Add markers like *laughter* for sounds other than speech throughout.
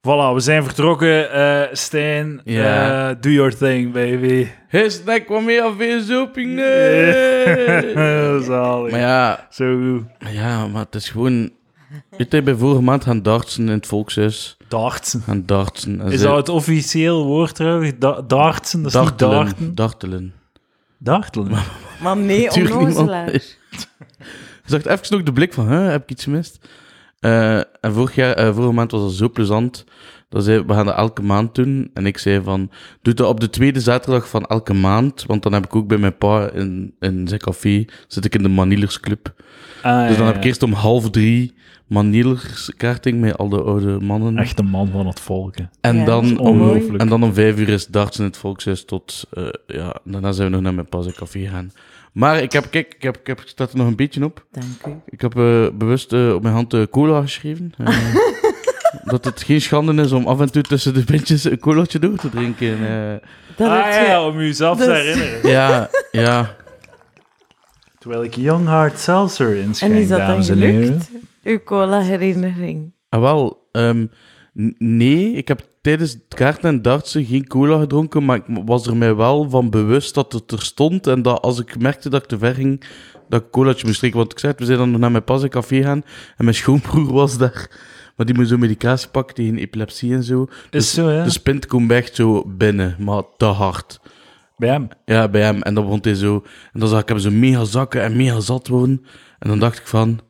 Voilà, we zijn vertrokken. Eh Stijn, Ja. eh, do your thing, *laughs* baby. His nek kwam mee af weer zo, *laughs* Yeah. Zalig. Maar ja, Zo goed. maar ja, maar het is gewoon... Ik ben vorige maand gaan dartsen in het volkshuis. Dartsen. Gaan dartsen. en Is ze- dat het officieel woord trouwens? Da- dartsen, dat is niet dartelen? darten. Dartelen. Dartelen. Maar nee, Tuurlijk onnozelaar. niemand is. *laughs* Ik zag even nog de blik van, hè, heb ik iets gemist? Eh, en vorig jaar, eh, vorige maand was dat zo plezant. Dat zei, we gaan dat elke maand doen. En ik zei van, doe dat op de tweede zaterdag van elke maand. Want dan heb ik ook bij mijn pa in, in zijn café, zit ik in de Manielers Club. Ah, Dus dan ja, heb ik ja. eerst om half drie Manilerskaarting met al de oude mannen. Echt een man van het volk. hè. En, Ja, dat dan is om, ongelooflijk. en dan om vijf uur is darts in het volkshuis tot... eh, ja, daarna zijn we nog naar mijn pas en café gaan. Maar ik heb, kijk, ik heb, ik heb, ik sta er nog een beetje op. Dank u. Ik heb eh, bewust eh, op mijn hand eh, cola geschreven. *laughs* eh, omdat het geen schande is om af en toe tussen de pintjes een colaatje door te drinken. eh. Dat ah heb ja, je- om jezelf te Dus- *laughs* herinneren. ja, ja. Terwijl ik Young Hard Seltzer En is inschenk, dat dan dames en heren. gelukt? Uw cola-herinnering. Ah, wel, ehm, n- nee, ik heb tijdens het kaarten en dartsen geen cola gedronken, maar ik m- was er mij wel van bewust dat het er stond en dat als ik merkte dat ik te ver ging, dat ik colaatje moest drinken. Want ik zei, het, we zijn dan nog naar mijn pas en café gaan en mijn schoonbroer was daar, maar die moest zo'n medicatie pakken tegen epilepsie en zo. Dus, Is zo, ja. de spint komt echt zo binnen, maar te hard. Bij hem. Ja, bij hem. En dan begon hij zo... En dan zag ik hem zo mega zakken en mega zat worden. En dan dacht ik van...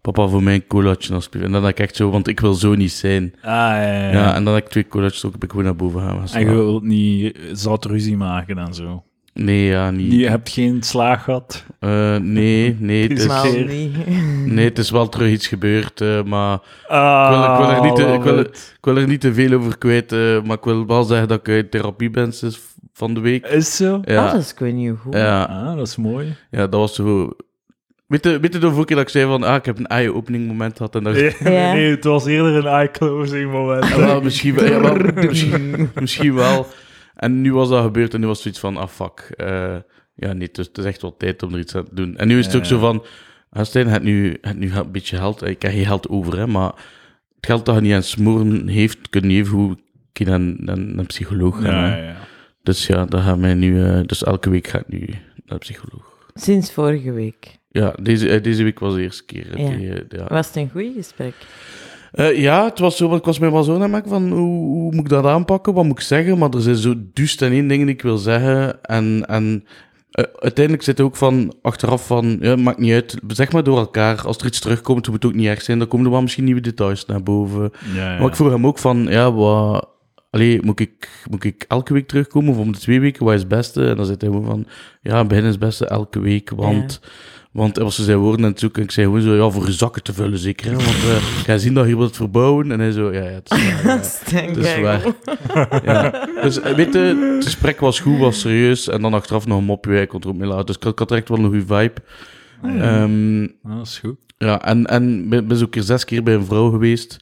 Papa, voor mij een colaatje alsjeblieft. En dan dacht ik echt zo, want ik wil zo niet zijn. Ah, ja, ja, ja. Ja, en dan heb ik twee colaatjes ook, heb ik gewoon naar boven gaan. gaan En je slapen. wilt niet eh, zat ruzie maken en zo. Nee, ja, niet. Je hebt geen slaag gehad. Eh, nee, nee, het Helemaal is, Helemaal keer. niet. nee, het is wel terug iets gebeurd, eh, maar ik wil, Ah, ik, wil er niet te, love ik, wil, it. ik wil er niet te veel over kwijt, eh, maar ik wil wel zeggen dat ik uit therapie ben sinds van de week. Is zo? Ja, Ah, dat is gewoon niet goed. ja, Ah, dat is mooi. ja, dat was zo... Weet je, weet je de vorige keer dat ik zei van, ah, ik heb een eye-opening moment gehad en dat Ja. Nee, het was eerder een eye-closing moment. Ja, wel, misschien, wel, ja, wel, misschien, misschien wel. En nu was dat gebeurd en nu was het zoiets van, ah fuck. eh, ja, niet, dus het is echt wel tijd om er iets aan te doen. En nu is het Ja, ook ja. zo van, ah, Stijn, het nu, het nu een beetje geld. Ik heb geen geld over, hè, maar het geld dat je niet aan smoren heeft, kun je even goed een keer aan, aan een psycholoog gaan. ja, hè. ja. Dus ja, dat gaan wij nu, eh, dus elke week gaat nu naar de psycholoog. Sinds vorige week. Ja, deze, eh, deze week was de eerste keer. hè, Ja. die, eh, ja. Was het een goed gesprek? Eh, ja, het was zo, want ik was mij wel zo aan het maken van hoe, hoe moet ik dat aanpakken, wat moet ik zeggen, maar er zijn zo duist en één ding die ik wil zeggen. En, en eh, uiteindelijk zit er ook van achteraf van, ja, maakt niet uit, zeg maar door elkaar. Als er iets terugkomt, moet het ook niet erg zijn, dan komen er wel misschien nieuwe details naar boven. ja, ja. Maar ik vroeg hem ook van, ja, wat... Allee, moet ik, moet ik elke week terugkomen of om de twee weken? Wat is het beste? En dan zei hij gewoon van, ja, begin is het beste elke week, want... Want hij was ze zijn woorden aan het zoeken en ik zei gewoon zo, ja, voor je zakken te vullen zeker, hè? Want eh ga je zien dat je wilt verbouwen. En hij zo, ja, ja, het is waar. ja. Stijn Het is Kegel. waar. Ja. Dus eh, weet je, het gesprek was goed, was serieus. En dan achteraf nog een mopje, hij kon er ook mee laten. Dus ik had, ik had er echt wel een goede vibe. Ehm, Ah, dat is goed. ja, en, en ben, ben zo een keer zes keer bij een vrouw geweest.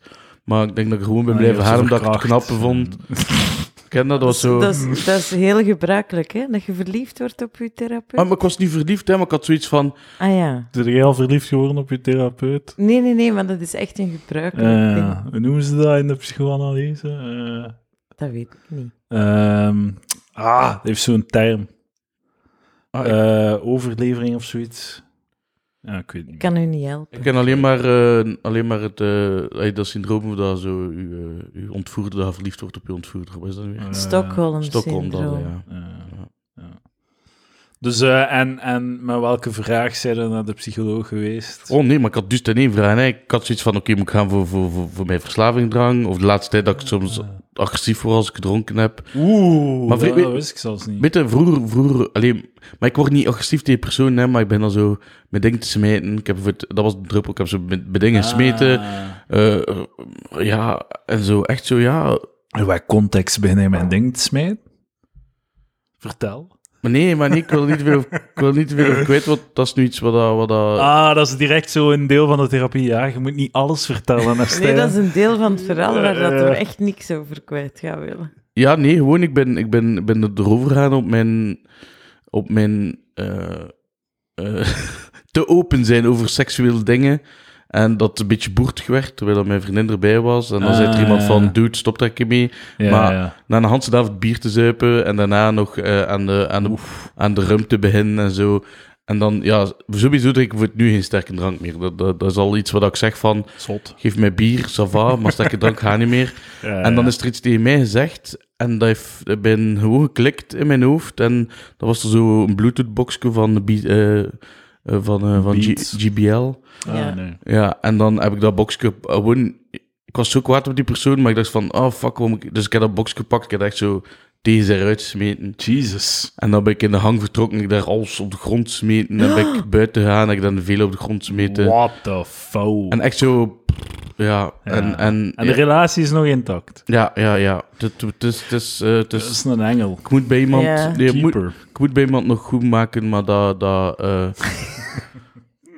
Maar ik denk dat ik er gewoon ben Ah, blijven je haar, hebt ze omdat ik het knap verkracht. *laughs* vond. Ken dat, dat was zo... Ah, Dat is, dat is heel gebruikelijk, hè? Dat je verliefd wordt op je therapeut. Ah, maar ik was niet verliefd, hè, maar ik had zoiets van... Ah ja. Ben jij al verliefd geworden op je therapeut? Nee, nee, nee, maar dat is echt een Eh, gebruikelijk ding. hoe noemen ze dat in de psychoanalyse? Eh, Dat weet ik niet. ehm, ah, dat heeft zo'n term. Ah, ik, Eh, overlevering of zoiets. Ja, ik weet het Ik niet. kan u niet helpen. ik ken alleen maar, eh, alleen maar het, eh, eh, dat syndroom dat zo... Uw, eh, uw ontvoerder, dat verliefd wordt op uw ontvoerder. Wat is dat nu weer? Eh, Stockholm, Stockholm, dat, syndroom. ja. eh, ja. Dus, eh, en, en met welke vraag zijn er naar de psycholoog geweest? Oh nee, maar ik had dus ten één vraag. hè. Ik had zoiets van, oké, moet ik gaan voor, voor, voor, voor mijn verslavingdrang? Of de laatste tijd Ah. dat ik soms agressief word als ik gedronken heb. Oeh, Maar maar weet- dat, dat wist ik zelfs niet. Weet je, vroeger, vroeger alleen, maar ik word niet agressief tegen persoon, hè, maar ik ben dan zo met dingen te smeten. Ik heb, voor het- dat was de druppel, ik heb zo met, met dingen gesmeten. Ah. Eh, eh, ja, en zo, echt zo, ja. In welk context begin je mijn ding te smijten? Vertel. Maar nee, maar nee, ik wil er niet te veel, over- ik wil er niet te veel over kwijt, want dat is nu iets wat, dat- wat dat... Ah, dat is direct zo een deel van de therapie. Ja, je moet niet alles vertellen. hè, Nee, Stijn. dat is een deel van het verhaal waar dat we Eh. echt niks over kwijt gaan willen. Ja, nee, gewoon, ik ben, ik ben, ik ben er- erover gegaan op mijn... Op *laughs* mijn eh, eh, te open zijn over seksuele dingen. En dat het een beetje boert werd, terwijl dat mijn vriendin erbij was. En dan Ah, zei er iemand ja. van, dude, stop daar een keer mee. Ja, Maar- ja. Na een handse avond bier te zuipen en daarna nog eh, aan, de, aan, de, aan de rum te beginnen en zo. En dan, ja, sowieso drink ik voor het nu geen sterke drank meer. Dat, dat, dat is al iets wat ik zeg van, Zot. geef mij bier, sava, maar sterke drank ga niet meer. Ja, En dan Ah, ja. is er iets tegen mij gezegd. En dat heeft, ik ben gewoon geklikt in mijn hoofd. En dan was er zo een Bluetooth-boxje van, de Beat- eh, eh, van, eh, van G- Beats. GBL. Ah, Ja. nee. Ja, en dan heb ik dat boxje oh, gewoon... Ik was zo kwaad op die persoon, maar ik dacht van, oh fuck, waarom ik... Dus ik heb dat boxje gepakt, ik heb dat echt zo tegen ze eruit smeten. Jesus. En dan ben ik in de hang vertrokken, ik heb daar alles op de grond smeten. En dan *gasps* ben ik buiten gegaan, en ik heb dan veel op de grond smeten. What the fuck. En echt zo... Ja, Ja. en... en, En de relatie is nog intact. ja, ja, ja. Het het is... Het is, eh, het Dus is dat is een engel. ik moet bij iemand... Ja. nee, ik moet, Keeper. ik moet bij iemand nog goed maken, maar dat... dat *laughs* eh,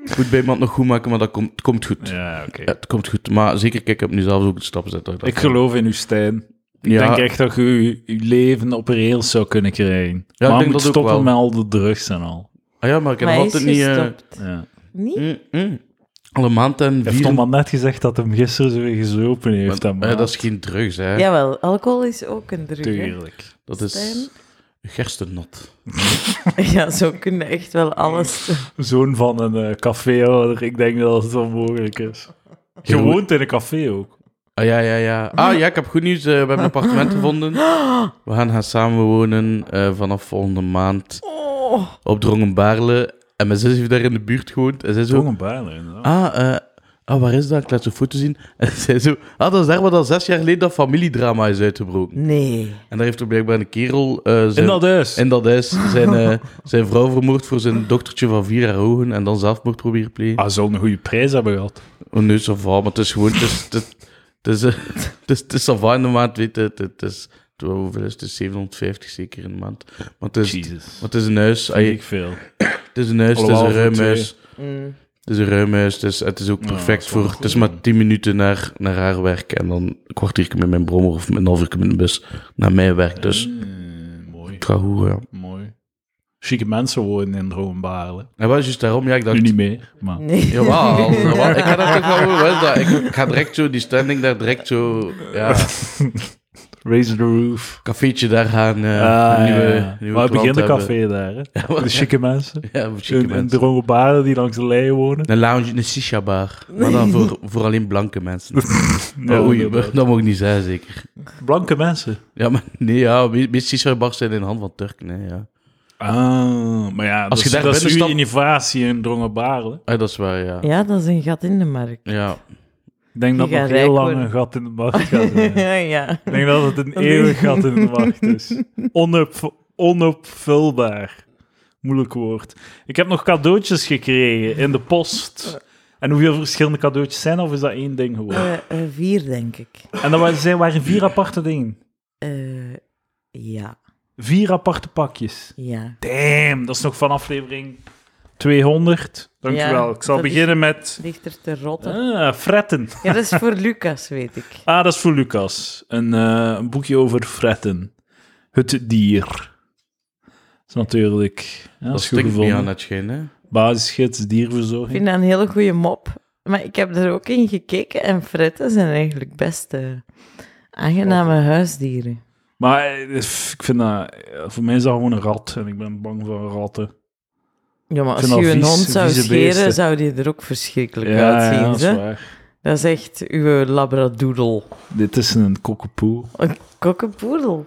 ik moet bij iemand nog goed maken, maar dat komt, het komt goed. Ja, oké. Ja, het komt goed. Maar zeker, kijk, ik heb nu zelf ook de stap gezet. dat dat- Ik geloof in u, Stijn. Ik Ja. denk echt dat je je je leven op rails zou kunnen krijgen. ik maar denk je moet dat ook stoppen wel. met al de drugs en al. Ah ja, maar ik heb maar nog hij is altijd niet... eh, gestopt. Ja. Niet? mm, mm. Alle maand en Heeft vier... Tom al net gezegd dat hem gisteren zo weer gezopen Maar- heeft? maar ja, dat is geen drugs, hè. Jawel, alcohol is ook een drug. hè. Tuurlijk. dat is Stijn? gerstennat. *laughs* Ja, zo kunnen echt wel alles. Zoon van een eh, caféhouder, ik denk dat het onmogelijk is. Je Heel- woont in een café ook. Ah, ja, ja, ja. Ah, ja, ik heb goed nieuws. eh, we hebben een *gasps* appartement gevonden. We gaan gaan samenwonen eh, vanaf volgende maand Oh, op Drongenbaarle. En mijn zus heeft daar in de buurt gewoond. En zij zo... Toch een baarle, inderdaad. Ah, eh, ah, waar is dat? Ik laat zo'n foto zien. *laughs* En zij zo... Ah, dat is daar waar dat zes jaar geleden dat familiedrama is uitgebroken. nee. En daar heeft er blijkbaar een kerel... eh, zijn... In dat huis. En dat is zijn, eh, *laughs* zijn vrouw vermoord voor zijn dochtertje van vier jaar ogen en dan zelfmoord proberen plegen. Ah, zo'n goede prijs hebben gehad. Oh nee, ça va, maar het is gewoon... Het is, het, is- het is, eh, het is, het is ça va in de maand, weet je. Het, het is... het- Hoeveel is het? Het is 750 zeker in de maand. Maar het is, Jesus. maar het is een huis. Vind ai, ik veel. het is een huis, het is Allemaal een voor ruim twee. huis. Mm. Het is een ruim huis. Het is, het is ook Ja, perfect dat is wel voor... goed, Het is maar man. 10 minuten naar, naar haar werk. En dan een kwartiertje met mijn brommer of een half uur met de bus naar mijn werk. Dus Mm, mooi, ik ga goed, ja. mooi. Chique mensen wonen in Droombaarle. En was juist daarom, ja, ik dacht... Nu niet meer, maar... Nee. Jawel, jawel. ik ga dat toch wel doen, hè. Dat- ik, ik ga direct zo, die standing daar direct zo, ja, *laughs* Raise the roof. cafeetje daar gaan, eh, Ah, een nieuwe, ja, ja. nieuwe maar klant begin de hebben. café daar, *laughs* hè. *laughs* Ja, maar- De chique mensen. ja, voor chique In, in mensen. Droombaarle die langs de lei wonen. Een lounge, een shisha bar, maar dan voor, voor alleen blanke mensen. *laughs* Ja, oh, oei, inderdaad. dat mag ik niet zijn, zeker. Blanke mensen. Ja, maar nee, ja, me- meeste shisha bars zijn in de hand van Turken, hè, ja. Ah, maar ja, Als dat je is- daar dat is binnen uw stapt- innovatie in Drongenbaarle. Ah, dat is waar, ja. Ja, *laughs* Ja, dat is een gat in de markt. ja. Ik denk Je dat gaat nog rijk heel lang worden. een gat in de markt gaat *laughs* zijn. ja, ja. Ik denk dat het een Dat eeuwig is- gat in de markt is. Onop, onopvulbaar. Moeilijk woord. Ik heb nog cadeautjes gekregen in de post. En hoeveel verschillende cadeautjes zijn, er, of is dat één ding geworden? Eh, eh, vier, denk ik. En dat waren, zijn- waren vier aparte dingen. Eh, ja, Vier aparte pakjes. ja. Damn, dat is nog van aflevering 200. Dankjewel. Ja, Ik zal dat is- beginnen met Dichter te rotten. ah, fretten. Ja, dat is voor Lucas, weet ik. Ah, dat is voor Lucas. Een, eh, een boekje over fretten. Het dier. Dat is natuurlijk... Ja, Dat is goed stinkt niet gevonden. aan het schijn, hè. Basisgids, Ik dierverzorging. vind dat een hele goede mop. Maar ik heb er ook in gekeken en fretten zijn eigenlijk best eh, aangename huisdieren. Maar eh, f- ik vind dat... eh, Voor mij is dat gewoon een rat. En ik ben bang voor ratten. Ja, maar Ik als vind je dat een vies- hond zou vieze scheren, beesten. zou die er ook verschrikkelijk ja, uitzien. dat is hè? waar. dat is echt uw labradoodle. Dit is een kokkepoe. Een kokkepoedel.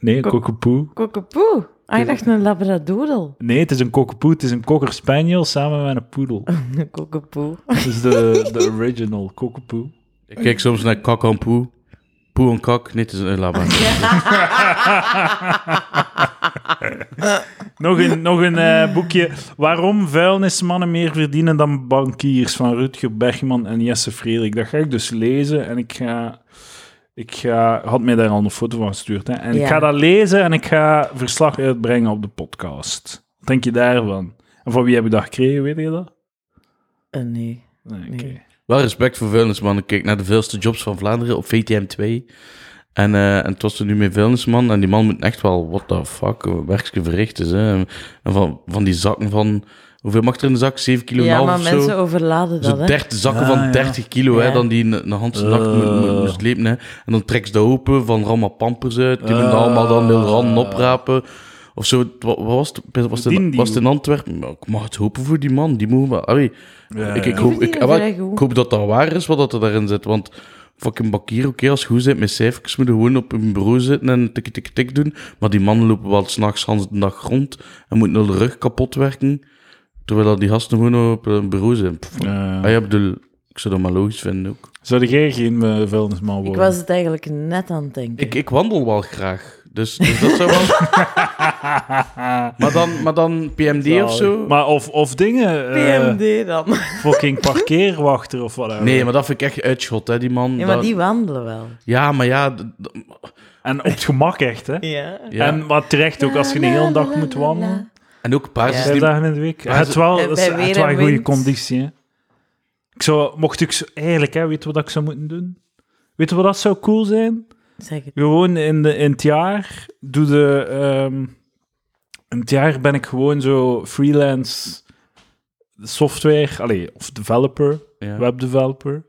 Nee, een Kok- kokkepoe. Kokkepoe. Ah, ik dacht een labradoodle. *laughs* Nee, het is een kokkepoe. Het is een cocker spaniel samen met een poedel. *laughs* Een kokkepoe. Dat is de, de original kokkepoe. Ik kijk soms naar kak en poe. Poe en kak, eh, nee, het is een laba. Nog een, nog een eh, boekje. Waarom vuilnismannen meer verdienen dan bankiers van Rutger Bergman en Jesse Frederik. Dat ga ik dus lezen en ik ga... Ik ga, had mij daar al een foto van gestuurd. Hè? En ik Ja. ga dat lezen en ik ga verslag uitbrengen op de podcast. Wat denk je daarvan? En van wie heb ik dat gekregen, weet je dat? Eh, nee. Nee, oké. Nee. Wel respect voor vuilnisman. Ik keek naar de veelste jobs van Vlaanderen op VTM2. En, eh, en het was er nu met vuilnisman. En die man moet echt wel, what the fuck, werkje verrichten. Hè. En van, van die zakken van Hoeveel mag er in de zak? 7 kilo en Ja, een maar half mensen of zo? overladen dat, Zo hè. 30 zakken Ja, van ja. 30 kilo, hè, Ja. dan die een een handse nacht moet- moet- Eh. moest slepen. Hè. En dan trek ze dat open, van er allemaal pampers uit, die moeten Eh. allemaal dan heel randen oprapen. Of zo, Het wa- wat was het? Was het, Verdien in- die was het in Antwerpen? Nou, Ik mag het hopen voor die man, die moet wel... Allee, Ja, ik, ik, ja. hoop, ik, ah, Die verdienen wel, vrij goed. ik hoop dat dat waar is wat dat er daarin zit, want fucking bankier, oké, als je goed bent met cijfers, moet je gewoon op een bureau zitten en tik tik tik doen, maar die mannen lopen wel s'nachts de dag rond en moeten hun rug kapot werken, terwijl dat die gasten gewoon op een bureau zitten. Pff, Ja. Ah ja, bedoel, ik zou dat maar logisch vinden ook. Eh, Zou jij geen eh, vuilnisman worden? Ik *laughs* was het eigenlijk net aan het denken. Ik, ik wandel wel graag, dus, dus dat zou wel... *laughs* maar, dan, maar dan PMD of zo? Maar of, of dingen, eh, PMD *laughs* dan. fucking parkeerwachter of wat. Nee, maar dat vind ik echt uitschot, hè, die man. Ja, maar Dat- die wandelen wel. ja, maar ja... d- d- En op het gemak echt, hè. Ja. ja. En wat terecht ook, als je een hele dag moet wandelen. En ook paarden Ja. Vijf die... dagen in de week. Maar Het is wel, En het is bij het weer is wel en een goede wind. conditie, hè. Ik zou, mocht ik zo, eigenlijk, hè, weet je wat ik zou moeten doen? Weet je wat dat zou cool zijn? Zeg het. Gewoon in, de, in het jaar doe de... ehm, in het jaar ben ik gewoon zo freelance software, allee, of developer, Ja. webdeveloper.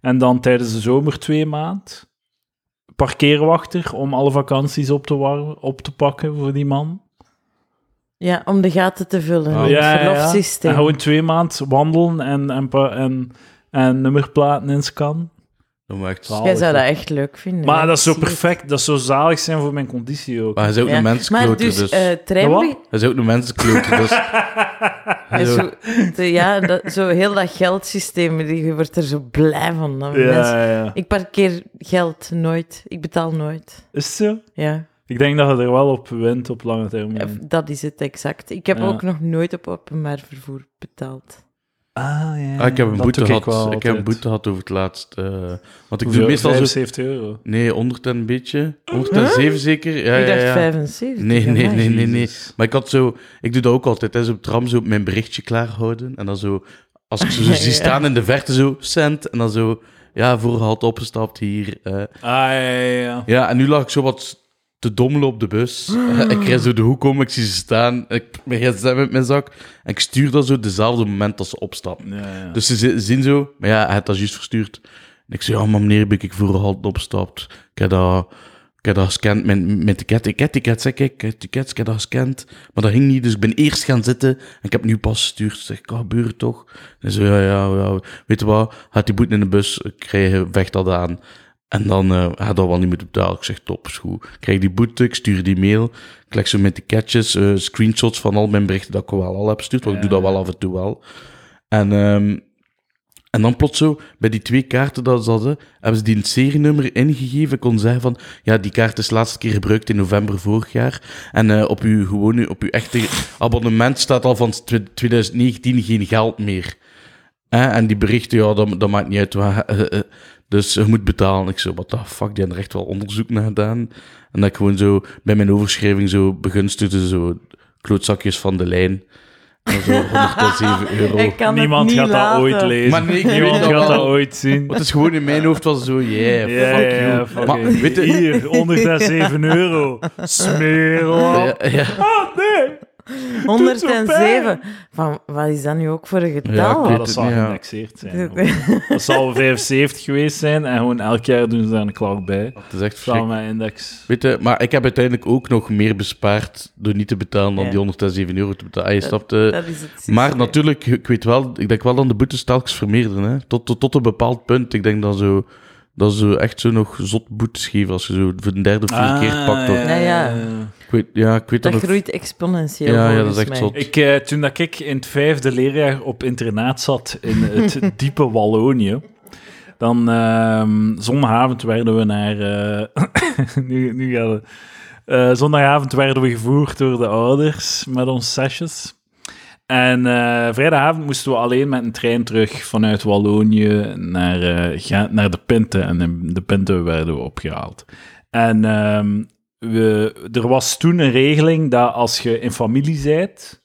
En dan tijdens de zomer twee maand parkeerwachter om alle vakanties op te, warmen, op te pakken voor die man. Ja, om de gaten te vullen. Ah, Ja, in het verlofsysteem. En gewoon twee maand wandelen en, en, pa- en, en nummerplaten inscannen. Dat maakt... Zalig, Jij zou dat hè. echt leuk vinden. Maar hè? dat is zo Zie je. perfect. Dat zou zalig zijn voor mijn conditie ook. Maar hij is ook Ja. een mensenkloter, Maar dus... dus, eh, trein- Wat? Hij is ook een mensenkloter, dus... *laughs* en zo, de- ja, dat, zo heel dat geldsysteem, die- je wordt er zo blij van. dan mensen- *laughs* ja, ja. Ik parkeer geld nooit. Ik betaal nooit. Is het zo? Ja, Ik denk dat je er wel op wint op lange termijn. dat is het exact. Ik heb Mm. Ja. ook nog nooit op openbaar vervoer betaald. Ah, ja, ja. Ah, ik heb een Dat boete doe gehad. wel Ik, heb een altijd. boete gehad over het laatst. eh, want ik doe Hoeveel? meestal zo... 75 euro. Nee, 100 en een beetje. 107 zeker? Ja, ik ja, dacht ja. 75. Nee, nee, amai. nee, nee, nee. Jezus. Maar ik had zo... Ik doe dat ook altijd, hè. Zo op tram, zo op mijn berichtje klaarhouden. En dan zo... Als ik ze zo Ja, zie ja. staan in de verte, zo... Cent. En dan zo... Ja, vorige had opgestapt hier. eh. Ah, ja, ja, ja. Ja, en nu lag ik zo wat te dommelen op de bus. Eh, ik rijd zo de hoek om, ik zie ze staan. Ik ben gsm met mijn zak. En ik stuur dat zo dezelfde moment als ze opstappen. Ja, ja. Dus ze zi- zien zo, maar ja, hij had dat juist verstuurd. En ik zei, ja, maar meneer, ben ik voor halt opgestapt. Ik heb dat, ik heb dat gescand met, met ticket. Ik heb tickets, zeg ik. Ik heb tickets, ik heb dat gescand. Maar dat ging niet, dus ik ben eerst gaan zitten. En ik heb nu pas gestuurd. Zeg ik, ah, gebeurt toch? En zo, ja, ja, ja. Weet je wat? Had die boete in de bus krijgen, vecht dat aan. En dan eh had dat wel niet moeten betalen. Ik zeg, top, is goed. Ik krijg die boete, ik stuur die mail. Ik leg zo met die catches, eh, screenshots van al mijn berichten dat ik wel al heb gestuurd. Want ik doe dat wel af en toe wel. En, ehm, en dan plots zo, bij die twee kaarten dat ze hadden, hebben ze die een serienummer ingegeven. Ik kon zeggen van, ja, die kaart is de laatste keer gebruikt in november vorig jaar. En eh, op, uw, gewone, op uw echte abonnement staat al van tw- 2019 geen geld meer. Eh, en die berichten, ja, dat, dat maakt niet uit. waar, eh, eh, dus je moet betalen. Ik zo, what the fuck, die hebben er echt wel onderzoek naar gedaan. En dat ik gewoon zo, bij mijn overschrijving zo begunstigde, zo klootzakjes van de lijn. En dan zo 107 euro. Ik kan Niemand het niet gaat dat laten. ooit lezen. Maar nee, ik weet Niemand dat gaat dat wel. ooit zien. Want het is gewoon in mijn hoofd was zo, yeah, Ja, fuck ja, you. ja, fuck maar it. weet je, Hier, *laughs* 107 euro. Smerel. ja, ja. Ah, nee. Doet zo pijn. 107. Van, wat is dat nu ook voor een getal? weet Ah, het dat zal niet, ja. geïndexeerd zijn. Dat *laughs* zal 75 geweest zijn en gewoon elk jaar doen ze daar een klok bij. Het is echt Van verschrikkelijk. mijn index. Weet je, maar ik heb uiteindelijk ook nog meer bespaard door niet te betalen dan Ja. die 107 euro te betalen. Ah, je snapt, eh. *laughs* dat is het systeem. maar natuurlijk, ik weet wel, ik denk wel dat de boetes telkens vermeerderen. Hè. Tot, tot, tot een bepaald punt. Ik denk dat, zo, dat ze echt zo nog zot boetes geven als je zo voor de derde of vierde Ah, keer pakt. hoor. ja. Ik weet, ja, ik weet Dat nog- groeit exponentieel. Ja, ja, dat volgens is echt mij. zot. Ik, eh, toen dat ik in het vijfde leerjaar op internaat zat in het diepe Wallonië, dan ehm, zondagavond werden we naar... eh, *coughs* nu, nu gaan we... Eh, zondagavond werden we gevoerd door de ouders met ons sesjes. En eh, vrijdagavond moesten we alleen met een trein terug vanuit Wallonië naar, eh, Gent- naar de Pinte. En in de Pinte werden we opgehaald. En ehm, we, er was toen een regeling dat als je in familie zijt,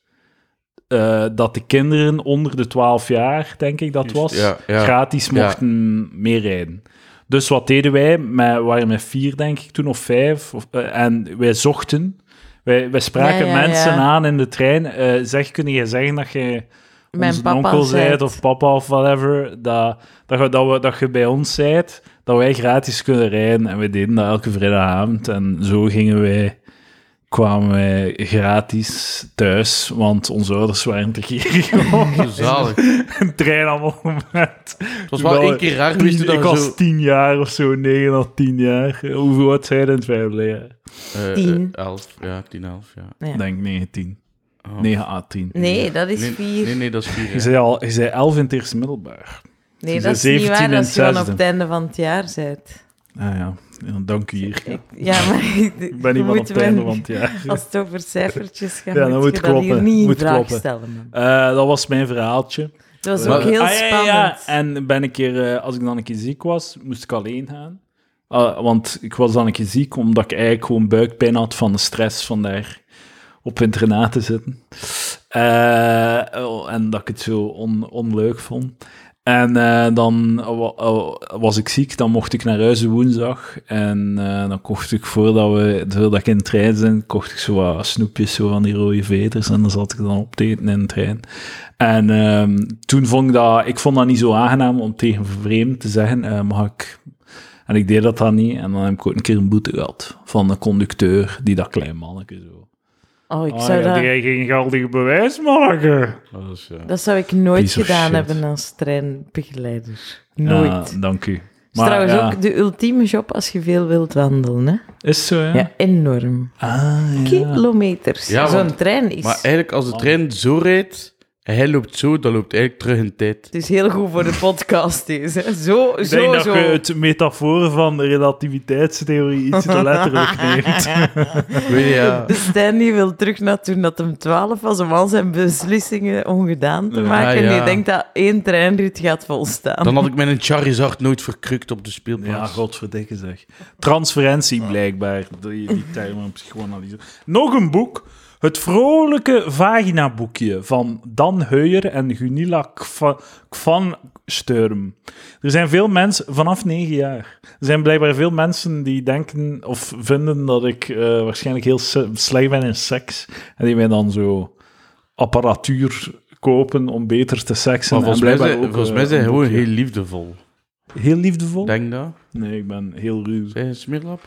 eh, dat de kinderen onder de 12 jaar, denk ik dat was, ja, ja. gratis Ja. mochten meerijden. Dus wat deden wij? Met- We waren met vier, denk ik, toen, of vijf. Of, eh, en wij zochten Wij, wij spraken Ja, ja, ja. mensen aan in de trein. eh, zeg, kun je zeggen dat je Mijn onze papa onkel zei zijt of papa of whatever, dat, dat, je- dat, we, dat je bij ons zijt, dat wij gratis kunnen rijden. En we deden dat elke vrijdagavond. En zo gingen wij, kwamen wij gratis thuis, want onze ouders waren te gierig *laughs* om Zalig. een trein allemaal moment. Het *laughs* was wel één keer raar geweest toen Ik dat je was zo... tien jaar of zo, negen of tien jaar. Hoeveel oud zijn we in het vijfde jaar? Eh, eh, Tien. elf, ja, tien, elf, ja. Ja. Ik denk 19, Oh. 9 à 10. Nee, dat is nee, vier. Nee, nee, dat is *laughs* vier. Je hè. zei al, je zei 11 in het eerste middelbaar. Nee, Ze dat is zijn niet 17 waar en als je dan op zesde. het einde van het jaar bent. Ah ja, ja, dank u hier. Ik- Ja, maar *laughs* Ik ben niet van op het einde van het jaar. *laughs* Als het over cijfertjes *laughs* gaat, Ja, dan moet, moet je dat hier kloppen. niet in Moet vraag kloppen. stellen. Man. Eh, dat was mijn verhaaltje. Dat was Maar- ook heel Ah, ja, ja, spannend. ja. En ben ik keer, eh, als ik dan een keer ziek was, moest ik alleen gaan. Ah, want ik was dan een keer ziek, omdat ik eigenlijk gewoon buikpijn had van de stress van daar op internaat te zitten. Eh, oh, en dat ik het zo on, onleuk vond. En eh, dan wa- eh, was ik ziek, dan mocht ik naar huis woensdag. En eh, dan kocht ik, voordat, we, voordat ik in de trein zat, kocht ik zo wat snoepjes zo van die rode veters. En dan zat ik dan op te eten in de trein. En ehm, toen vond ik dat, ik vond dat niet zo aangenaam om tegen vreemd te zeggen, eh, mag ik... En ik deed dat dan niet. En dan heb ik ook een keer een boete gehad van een conducteur, die dat klein manneke zo... Oh, ik Ah, zou ja, dat... die heeft geen geldige bewijs, manneke. Dat is, eh, ja. Dat zou ik nooit Piece of gedaan shit. hebben als treinbegeleider. Nooit. Ja, dank u. is Maar, trouwens ja, ook de ultieme job als je veel wilt wandelen. Hè? Is zo, ja. Ja, enorm. Ah, ja. Kilometers. Ja, Zo'n want- trein is Maar eigenlijk, als de trein zo rijdt en hij loopt zo, dan loopt hij eigenlijk terug in tijd. dus heel goed voor de podcast deze. hè. Zo, Ik denk zo, dat zo. je het metafoor van de relativiteitstheorie *laughs* iets te letterlijk neemt. Weet je, ja. De Stijn die wil terug naar toen dat hem 12 was om al zijn beslissingen ongedaan te Ja, maken. En die ja. denkt dat één treinrit gaat volstaan. Dan had ik mijn Charizard nooit verkrukt op de speelplaats. Ja, godverdikke zeg. Transferentie blijkbaar, die, die term op psychoanalyse. Nog een boek. Het vrolijke vaginaboekje van Dan Heuyer en Gunilla Kva- Kvan Sturm. Er zijn veel mensen, vanaf negen jaar, er zijn blijkbaar veel mensen die denken of vinden dat ik eh, waarschijnlijk heel se- slecht ben in seks. En die mij dan zo apparatuur kopen om beter te seksen. Maar En volgens mij blijkbaar zijn, ook, volgens eh, mij zijn een hij gewoon boekje. heel liefdevol. heel liefdevol. Denk dat. Nee, ik ben heel ruw. Zijn je een smeerlap?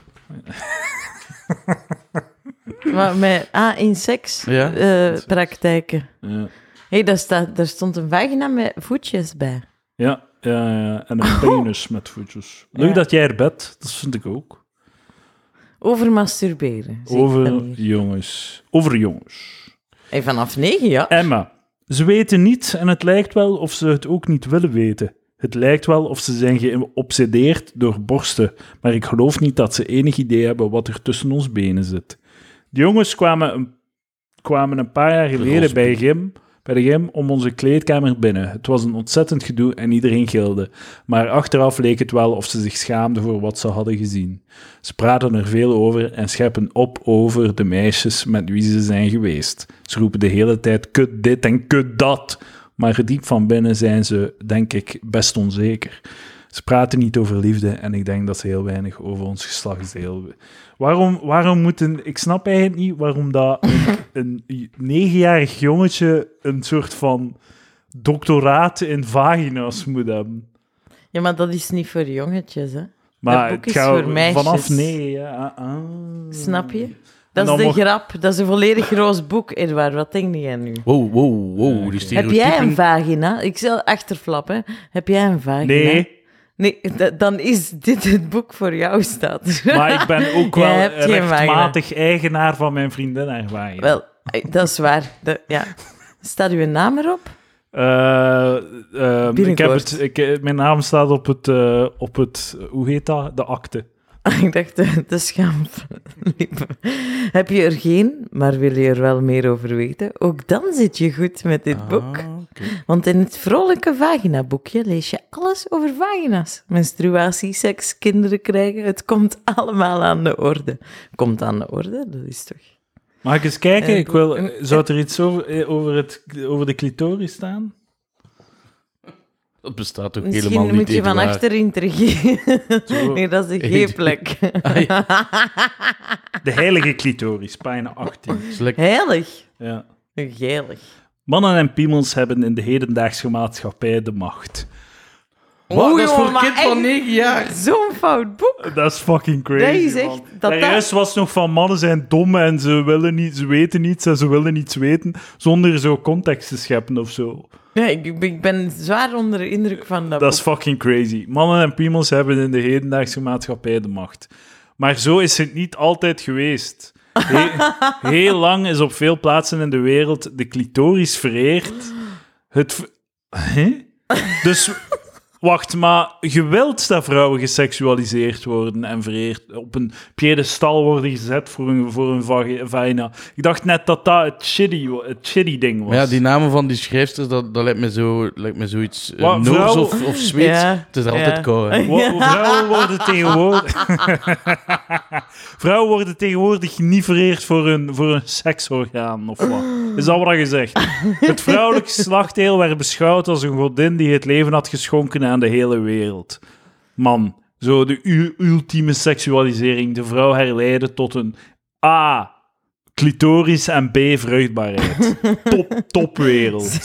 Maar met, ah, in seks Ja. eh, praktijken. Ja. Hé, daar, staat- daar stond een vagina met voetjes bij. Ja, ja, ja. en een penis met voetjes. Leuk Ja. dat jij er bent, dat vind ik ook. Over masturberen. zie ik dan Over hier. jongens. Over jongens. Hey, vanaf negen, ja. Emma. Ze weten niets en het lijkt wel of ze het ook niet willen weten. Het lijkt wel of ze zijn geobsedeerd door borsten, maar ik geloof niet dat ze enig idee hebben wat er tussen ons benen zit. De jongens kwamen een, kwamen een paar jaar geleden roze bij, gym, bij de gym om onze kleedkamer binnen. Het was een ontzettend gedoe en iedereen gilde, maar achteraf leek het wel of ze zich schaamden voor wat ze hadden gezien. Ze praten er veel over en scheppen op over de meisjes met wie ze zijn geweest. Ze roepen de hele tijd kut dit en kut dat. Maar diep van binnen zijn ze, denk ik, best onzeker. Ze praten niet over liefde en ik denk dat ze heel weinig over ons geslachtsdeel... Waarom, waarom moeten... Ik snap eigenlijk niet waarom dat een, een negenjarig jongetje een soort van doctoraat in vagina's moet hebben. Ja, maar dat is niet voor jongetjes, hè. Maar Dat boek het is gaat voor meisjes. vanaf nee, ja. ah, ah. Snap je? En Dat dan is de mocht- grap. Dat is een volledig roos boek, Edouard. Wat denk jij nu? Wow, wow, wow. Die Heb jij een stereotypen. vagina? Ik zal achterflappen. Heb jij een vagina? Nee, Nee, da- dan is dit het boek voor jou, staat. er. maar ik ben *laughs* ook Jij wel hebt geen vagina. rechtmatig eigenaar van mijn vriendin en vagina. *laughs* Wel, eh, dat is waar. Dat- ja. Staat uw naam erop? *laughs* Eh, ehm, ik heb Binnenkort. het, ik, mijn naam staat op het, eh, op het, hoe heet dat? De akte. Ah, Ik dacht, de, de schaam. Heb je er geen, maar wil je er wel meer over weten? Ook dan zit je goed met dit boek. Ah, oké. Want in het vrolijke vaginaboekje lees je alles over vagina's. Menstruatie, seks, kinderen krijgen. Het komt allemaal aan de orde. Komt aan de orde, dat is toch... Mag ik eens kijken? Eh, Ik wil, zou er iets over, eh, over, het, over de clitoris staan? Dat bestaat ook helemaal Misschien niet. moet je van Eduard. achterin teruggeven. Zo. *laughs* Nee, dat is de Eet. G-plek. Ah, *laughs* ja. De heilige clitoris, pagina 18. Dat is *laughs* lekker. Heilig. Ja. Geilig. Mannen en piemels hebben in de hedendaagse maatschappij de macht. Wow, dat is jongen, voor een maar kind van echt 9 jaar. Zo'n fout boek. Dat is fucking crazy. Dat is echt- man. dat De dat- rest was nog van mannen zijn dom en ze, willen niet, ze weten niets en ze willen niets weten zonder zo context te scheppen of zo. Nee, ik- ik, ben- ik ben zwaar onder de indruk van dat, Dat is fucking crazy. Mannen en piemels hebben in de hedendaagse maatschappij de macht. Maar zo is het niet altijd geweest. He- heel lang is op veel plaatsen in de wereld de clitoris vereerd. Het. v- Hè? Dus. Wacht, maar je wilt dat vrouwen geseksualiseerd worden en vereerd op een piedestal worden gezet voor een, voor een vagi- vagina. Ik dacht net dat dat het shitty, wa- het shitty ding was. Maar ja, die namen van die schrijfsters, dat, dat lijkt me, zo, lijkt me zoiets eh, Wat, Noors vrouw- of, of Zweeds. Ja, Het is er ja. altijd koud. *laughs* hè. Wo- Vrouwen worden tegenwoordig... *laughs* vrouwen worden tegenwoordig niet vereerd voor hun, voor hun seksorgaan, of wat? Is dat wat je zegt? Het vrouwelijk slachtdeel werd beschouwd als een godin die het leven had geschonken aan de hele wereld. Man, zo de u- ultieme seksualisering. De vrouw herleiden tot een A, clitoris en B, vruchtbaarheid. Top, topwereld. *laughs*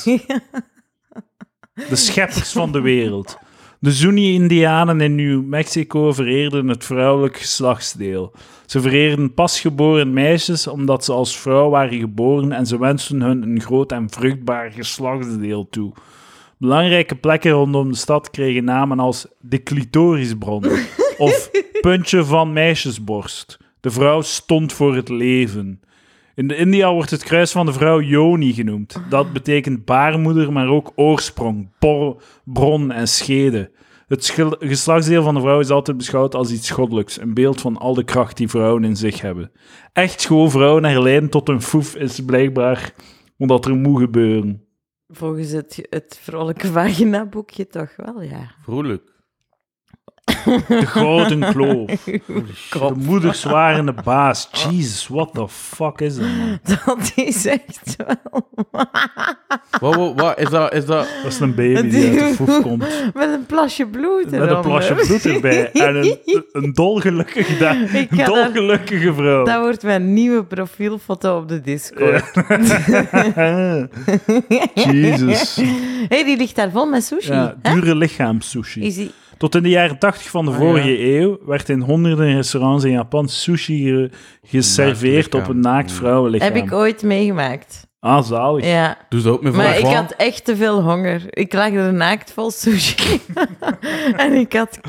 De scheppers van de wereld. De Zuni-Indianen in New Mexico vereerden het vrouwelijk geslachtsdeel. Ze vereerden pasgeboren meisjes omdat ze als vrouw waren geboren en ze wensten hun een groot en vruchtbaar geslachtsdeel toe. Belangrijke plekken rondom de stad kregen namen als de clitorisbron of puntje van meisjesborst. De vrouw stond voor het leven. In de India wordt het kruis van de vrouw Yoni genoemd. Dat betekent baarmoeder, maar ook oorsprong, bor- bron en schede. Het schil- geslachtsdeel van de vrouw is altijd beschouwd als iets goddelijks, een beeld van al de kracht die vrouwen in zich hebben. Echt gewoon vrouwen herleiden tot een foef is blijkbaar omdat er moe gebeuren. volgens het, het vrolijke vagina boekje toch wel, ja. Vrolijk. De gouden kloof. De moeders waren de baas. Jesus, what the fuck is dat, man? Dat is echt wel... Wat, wat, wat is dat? Is dat... Dat is een baby die uit de foef komt. Met een plasje bloed Met een erom, plasje hè. bloed *laughs* erbij. En een, een dolgelukkige, da- Ik ga dat- dolgelukkige vrouw. Dat wordt mijn nieuwe profielfoto op de Discord. *laughs* Ah, *laughs* Jezus. Hé, hey, die ligt daar vol met sushi. Ja, dure lichaamssushi. Is die... Tot in de jaren 80 van de Ah, vorige ja. eeuw werd in honderden restaurants in Japan sushi ge- geserveerd Naakt op een naakt lichaam. vrouwenlichaam. Heb ik ooit meegemaakt. Ah, zalig. Ja. Doe ze ook met Maar Van ik Gogh? had echt te veel honger. Ik lag er naakt vol sushi. *laughs* en ik had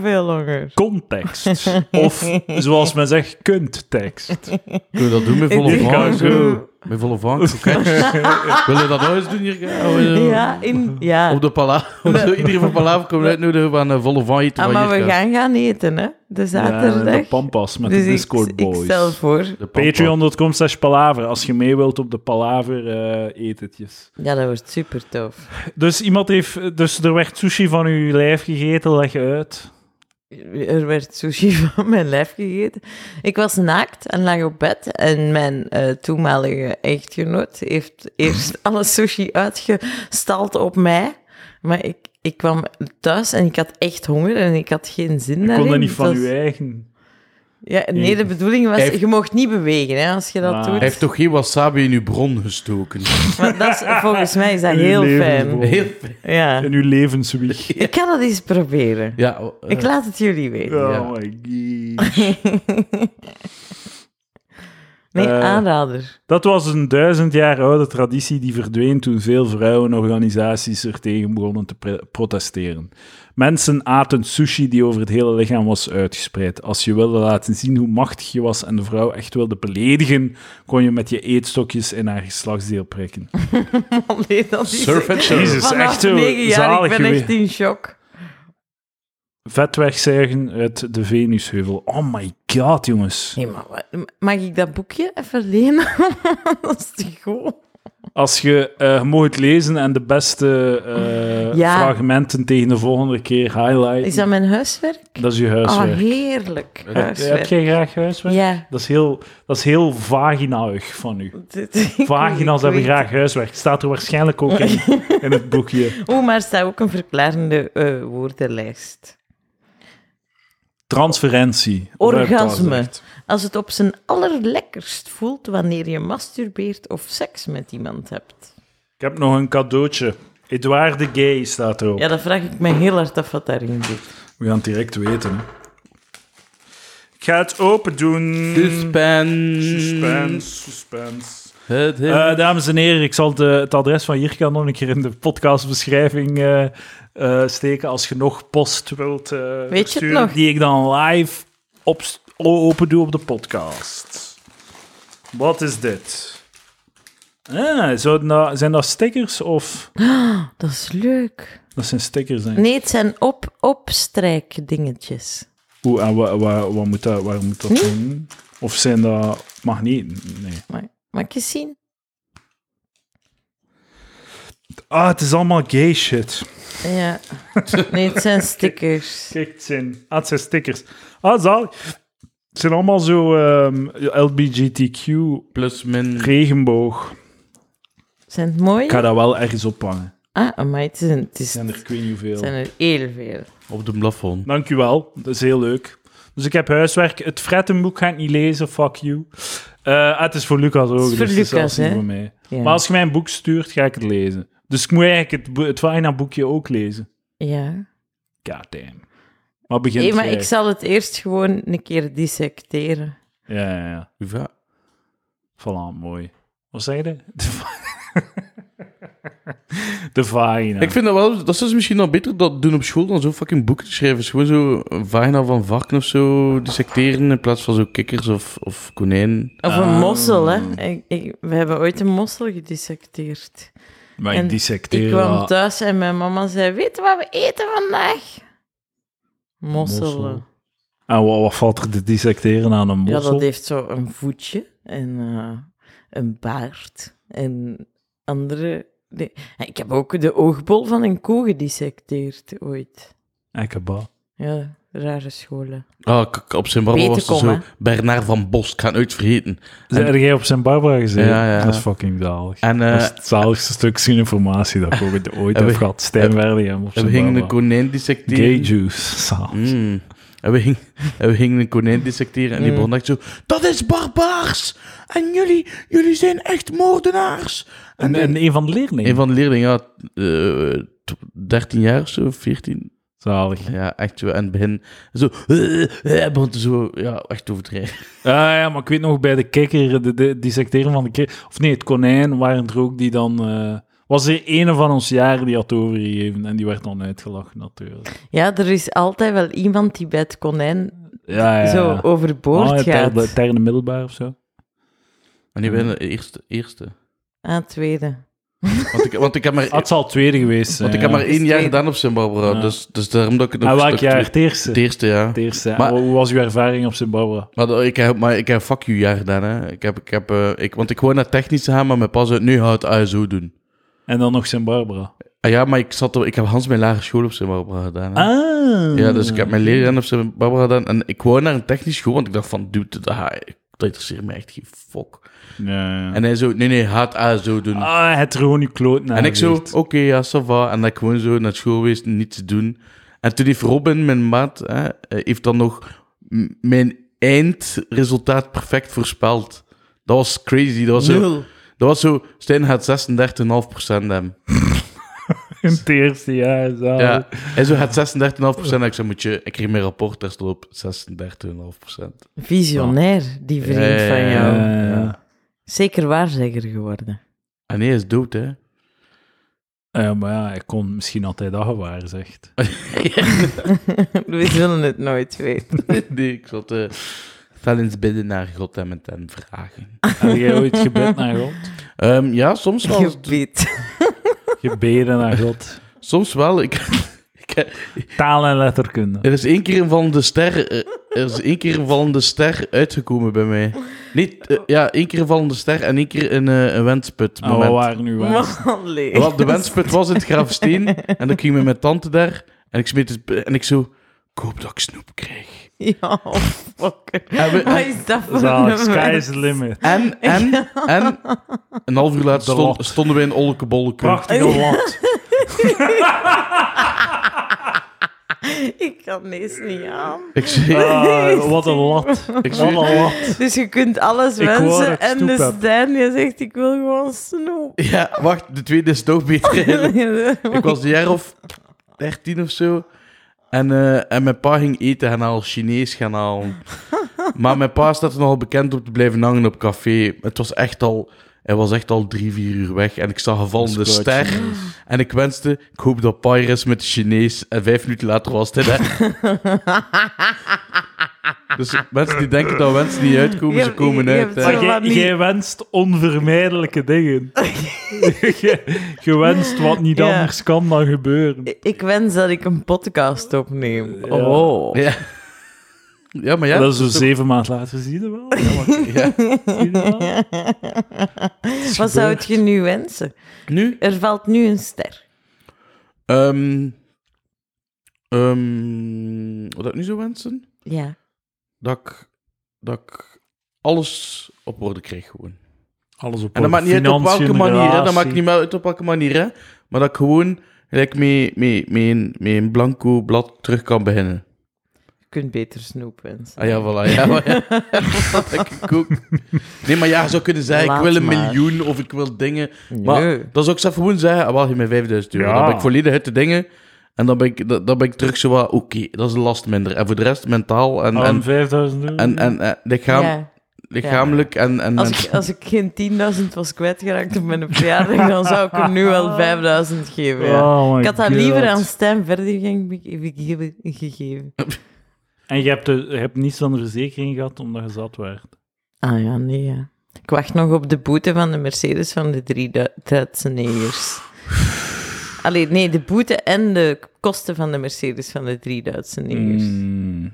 veel honger. *laughs* Context. Of, zoals men zegt, kunttekst. Kun je dat doen met volle Ik ga vang? zo. Met volle vang, koketjes. Wil je dat nou eens doen hier? Ja, we- Ja, in, ja. Op de *laughs* palaver. Iedereen van palaver komt uitnodigen aan een volle vang eten Ah, van maar we Jirka. gaan gaan eten, hè. De Ja, zaterdag. de pampas met dus de Discord ik, boys. ik stel voor... De pampa. Patreon.com slash palaver, als je mee wilt op de palaver eh, etentjes. Ja, dat wordt super tof. Dus iemand heeft, dus er werd sushi van uw lijf gegeten, leg je uit. Er werd sushi *laughs* van mijn lijf gegeten. Ik was naakt en lag op bed. En mijn eh, toenmalige echtgenoot heeft eerst *laughs* alle sushi uitgestald op mij. Maar ik, ik kwam thuis en ik had echt honger en ik had geen zin Je daarin. kon dat niet Het van was- uw eigen. Ja, nee, de bedoeling was, Hij heeft- je mocht niet bewegen hè, als je dat Ah. doet. Hij heeft toch geen wasabi in uw bron gestoken? Maar dat *laughs* is, volgens mij is dat In uw heel levensboom. fijn. Heel... *laughs* Ja. In uw levenswieg. Ik ga dat eens proberen. Ja, eh, Ik laat het jullie weten. Oh my god. Nee, Eh. aanrader. *laughs* Dat was een duizend jaar oude traditie die verdween toen veel vrouwenorganisaties er tegen begonnen te pre- protesteren. Mensen aten sushi die over het hele lichaam was uitgespreid. Als je wilde laten zien hoe machtig je was en de vrouw echt wilde beledigen, kon je met je eetstokjes in haar geslachtsdeel prikken. Nee, dat is surf and Jezus. surf. is Vanaf echt zo negen jaar, ik zalig ben geweest. echt in shock. Vet wegzuigen uit de Venusheuvel. Oh my god, jongens. *laughs* Nee, maar wat- mag ik dat boekje even lenen? dat is te goed. Als je, eh je mag het lezen en de beste eh, Ja. fragmenten tegen de volgende keer highlighten. Is dat mijn huiswerk? Dat is je Oh, huiswerk. heerlijk. Heb- Heb Huiswerk. jij graag huiswerk? Ja. *laughs* Dat is heel, dat is heel vaginaig van u. Dit- ik- Vagina's ik hebben weet- graag huiswerk. Staat er waarschijnlijk ook in, *laughs* in het boekje. Oeh, maar er staat ook een verklarende eh, woordenlijst. Transferentie. dat heb ik al Orgasme. gezegd. Als het op zijn allerlekkerst voelt wanneer je masturbeert of seks met iemand hebt. Ik heb nog een cadeautje. Edouard de Gay staat erop. Ja, dan vraag ik me heel hard af wat daarin zit. We gaan het direct weten. hè. Ik ga het open doen. Suspense. Suspense, suspense. Het heeft... Ehm. Eh, dames en heren, ik zal de, het adres van Jirka nog een keer in de podcastbeschrijving eh, eh, steken. Als je nog post wilt eh, het sturen, nog? die ik dan live op, open doe op de podcast. Wat is dit? Ah, zouden dat, zijn dat stickers of... Dat is leuk. Dat zijn stickers, denk ik. Nee, het zijn op, opstrijkdingetjes. Hoe, en wa, wa- wat moet dat, waar moet dat doen? Of zijn dat magneten? Nee. Maar, mag ik eens zien? Ah, het is allemaal gay shit. Ja. *laughs* Nee, het zijn stickers. Kijk, het zijn, ah, het zijn stickers. Ah, zalig. Het zijn allemaal zo ehm, LBGTQ Plus min... regenboog. Zijn het Ik mooi? ga dat wel ergens ophangen. Ah, maar het, is een- het is, Er zijn er het ik weet niet hoeveel. zijn er heel veel. Op de plafond. Dank u wel. Dat is heel leuk. Dus ik heb huiswerk. Het frettenboek ga ik niet lezen. Fuck you. Eh, ah, het is voor Lucas ook. Het is voor dus het is Lucas, zelfs niet hè? voor mij. Ja. Maar als je mij een boek stuurt, ga ik het lezen. Dus ik moet eigenlijk het, boe- het Vagina boekje ook lezen. ja. Goddamn. Maar begin Hey, maar ik zal het eerst gewoon een keer dissecteren. Ja, ja, ja. Ja. Voilà, mooi. Wat zei je? De, va- *laughs* de vagina. Ik vind dat wel... Dat is dus misschien nog beter dat doen op school dan zo fucking boeken te schrijven. Is gewoon zo een vagina van varken of zo dissecteren in plaats van zo kikkers of, of konijnen. Of Ah. een mossel, hè. Ik, ik- we hebben ooit een mossel gedissecteerd. maar en ik Ik dissecteer kwam dat. thuis en mijn mama zei, weet je wat we eten vandaag? Mosselen. Mossel. En wat, wat valt er te dissecteren aan een Ja, mossel? dat heeft zo een voetje en eh, een baard en andere... de- Ik heb ook de oogbol van een koe gedissecteerd ooit. Ekkeba. Ja, rare scholen. Ah, k- op zijn barbe Beter was er zo... komen. Bernard van Bos, ik ga het nooit vergeten. Zijn er jij op zijn Barbara gezeten? Ja, ja, ja. Dat is fucking zalig. En eh, dat is het zaligste stukje informatie dat ik *laughs* ooit- ooit En we- heb gehad. Stijn Werdium op we zijn gingen een Barbara. konijn Gay dissecteren. juice. Zalig. Mm. En, we gingen, en we gingen een konijn dissecteren en die begon echt zo... Dat is barbaars! En jullie, jullie zijn echt moordenaars! En, en een van de leerlingen. Een van de leerlingen, ja, eh, t- 13 jaar of zo, 14. Zalig. Ja, echt zo. En het begin zo... eh, eh, Hij begon te zo, ja, echt overdrijven. Ah ja, maar ik weet nog bij de kikker, de, de dissecteren van de kikker. Of nee, het konijn waren er ook die dan. eh, was er ene van ons jaar die had overgegeven en die werd dan uitgelachen, natuurlijk. Ja, er is altijd wel iemand die bij het konijn Ja, Eh, ja. zo oh, ja. overboord oh, Ah, ter, gaat. de, ter de middelbaar of zo. En die werden de eerste. eerste. Aan het Ah, tweede. Want ik, want ik heb maar... *laughs* Ah, het zal het tweede geweest zijn. Want ik heb ja. maar één jaar Tweede. gedaan op Sint Barbara, Ja. dus, dus daarom dat ik het nog En welk stuk jaar? twee- Het eerste. *laughs* Het eerste jaar. Het eerste. En Maar- hoe was uw ervaring op Sint Barbara? Maar dat- ik heb, maar ik heb fuck you jaar gedaan, hè. Ik heb, ik heb, eh, ik, want ik wou naar technisch gaan, maar mijn pas uit, nu gaat het ASO doen. En dan nog Sint Barbara. Ah ja, maar ik, zat op, ik heb Hans mijn lagere school op Sint Barbara gedaan, hè. Ah. Ja, dus ik heb mijn leerjaar op Sint Barbara gedaan. En ik wou naar een technisch school, want ik dacht van, dude, dat, ga ik- dat interesseert me echt geen fok. Ja, ja. En hij zo, nee, nee, ga het ASO doen. Ah, het er gewoon uw kloot naar. En ik zo, gezicht. oké, ja, ça va. En dat ik gewoon zo naar school geweest, niets te doen. En toen heeft Robin, mijn maat, hè, eh, heeft dan nog m- mijn eindresultaat perfect voorspeld. Dat was crazy. Dat was zo, Nul. dat was zo Stijn gaat 36,5% hebben. *laughs* In het eerste jaar. Zo. Ja. En zo gaat 36,5%. En ik zei, moet je, ik kreeg mijn rapport, daar stond op 36,5%. Visionair, die vriend Ja, ja, van ja, jou. Ja, ja. Zeker waarzegger *laughs* geworden. En nee, hij is dood, hè? Ja, Eh, maar ja, ik kon misschien altijd dat gewaar, zegt. We zullen het nooit weten. *laughs* nee, ik zat eh fel eens bidden naar God en met hem vragen. Heb jij ooit gebed naar God? Ehm, ja, soms wel. *laughs* Gebied. Gebeden naar God. Soms wel. Ik, *laughs* ik, Taal en letterkunde. Er is één keer een van de ster eh, Er is één keer een vallende ster uitgekomen bij mij. Nee, t- eh, ja, één keer een vallende ster en één keer een, eh, een wensput. Ah, we moment. waren nu *laughs* waar. Man, leeg. Wel, de wensput was in het Graafsteen. En dan ging ik met mijn tante daar. En ik smeet het... En ik zo... Ik hoop dat ik snoep krijg. *laughs* Ja, fuck. En, we- Wat is dat voor Zalig, een sky is mens? the limit. en, en, en een half uur later De stond- lat. stonden we in Olkebolleke. Prachtige *laughs* land. Ik kan deze niet aan. Ik zweer, Ah, wat een lat. ik Wat zweer, een lat. Dus je kunt alles Ik wou dat ik wensen. En de snoep heb. Stijn, je zegt, ik wil gewoon snoep. *laughs* Ja, wacht, de tweede is toch beter. *laughs* eigenlijk. ik was een jaar of 13 of zo. En, eh, en mijn pa ging eten gaan halen, Chinees gaan *laughs* halen. Maar mijn pa staat er nogal bekend op te blijven hangen op café. Het was echt al, hij was echt al drie, vier uur weg. En ik zag een vallende Scout ster. En ik wenste, ik hoop dat pa hier is met de Chinees. En vijf minuten later was *laughs* hij daar. dus mensen die denken dat wensen niet uitkomen, Je- ze komen je- je uit. hebt hè. zo- Maar jij- wat niet- jij wenst onvermijdelijke dingen. *laughs* je, je wenst wat niet Ja. anders kan dan gebeuren. Ik wens dat ik een podcast opneem. Ja. Oh. Ja. ja, maar ja. dat is zo dus zo- zeven maanden later. Zie je dat wel? Ja, maar- ja. zie je dat wel? *laughs* Wat zou het je nu wensen? Nu? Er valt nu een ster. Ehm ehm, wat ik nu zou wensen? Ja. Dat ik, dat ik alles op orde kreeg gewoon. Alles op En dat maakt niet uit op welke manier, hè. dat maakt niet meer uit op welke manier, hè. maar dat ik gewoon gelijk mee, mee, mee, een, mee een blanco blad terug kan beginnen. Je kunt beter snoep wensen. Ah ja, voilà, *laughs* ja, *laughs* maar ja. dat denk ik ook. Nee, maar ja, je zou kunnen zeggen, Laat ik wil een maar. miljoen of ik wil dingen. Maar Nee. dat zou ik zelf gewoon zeggen, ah, wel, geef mij 5000 euro. Ja. Dan ben ik volledig uit de dingen. En dan ben ik, dan, dan ben ik terug zo wat, oké, dat is een last minder. En voor de rest mentaal Oh, en, en, 5000 Ah, euro. en, en, eh, lichaam, Ja. lichamelijk en... en Als ik, als ik geen 10.000 was kwijtgeraakt op mijn verjaardag, dan zou ik hem nu wel 5.000 geven. Ja. Oh my ik had dat God. liever aan Stijn Verdering ge- ge- ge- gegeven. En je hebt, de, je hebt niets aan de verzekering gehad omdat je zat werd. Ah ja, nee. Ja. Ik wacht nog op de boete van de Mercedes van de drie Du- Duitse negers. Allee, nee, de boete en de kosten van de Mercedes van de drie Duitse negers. Hmm.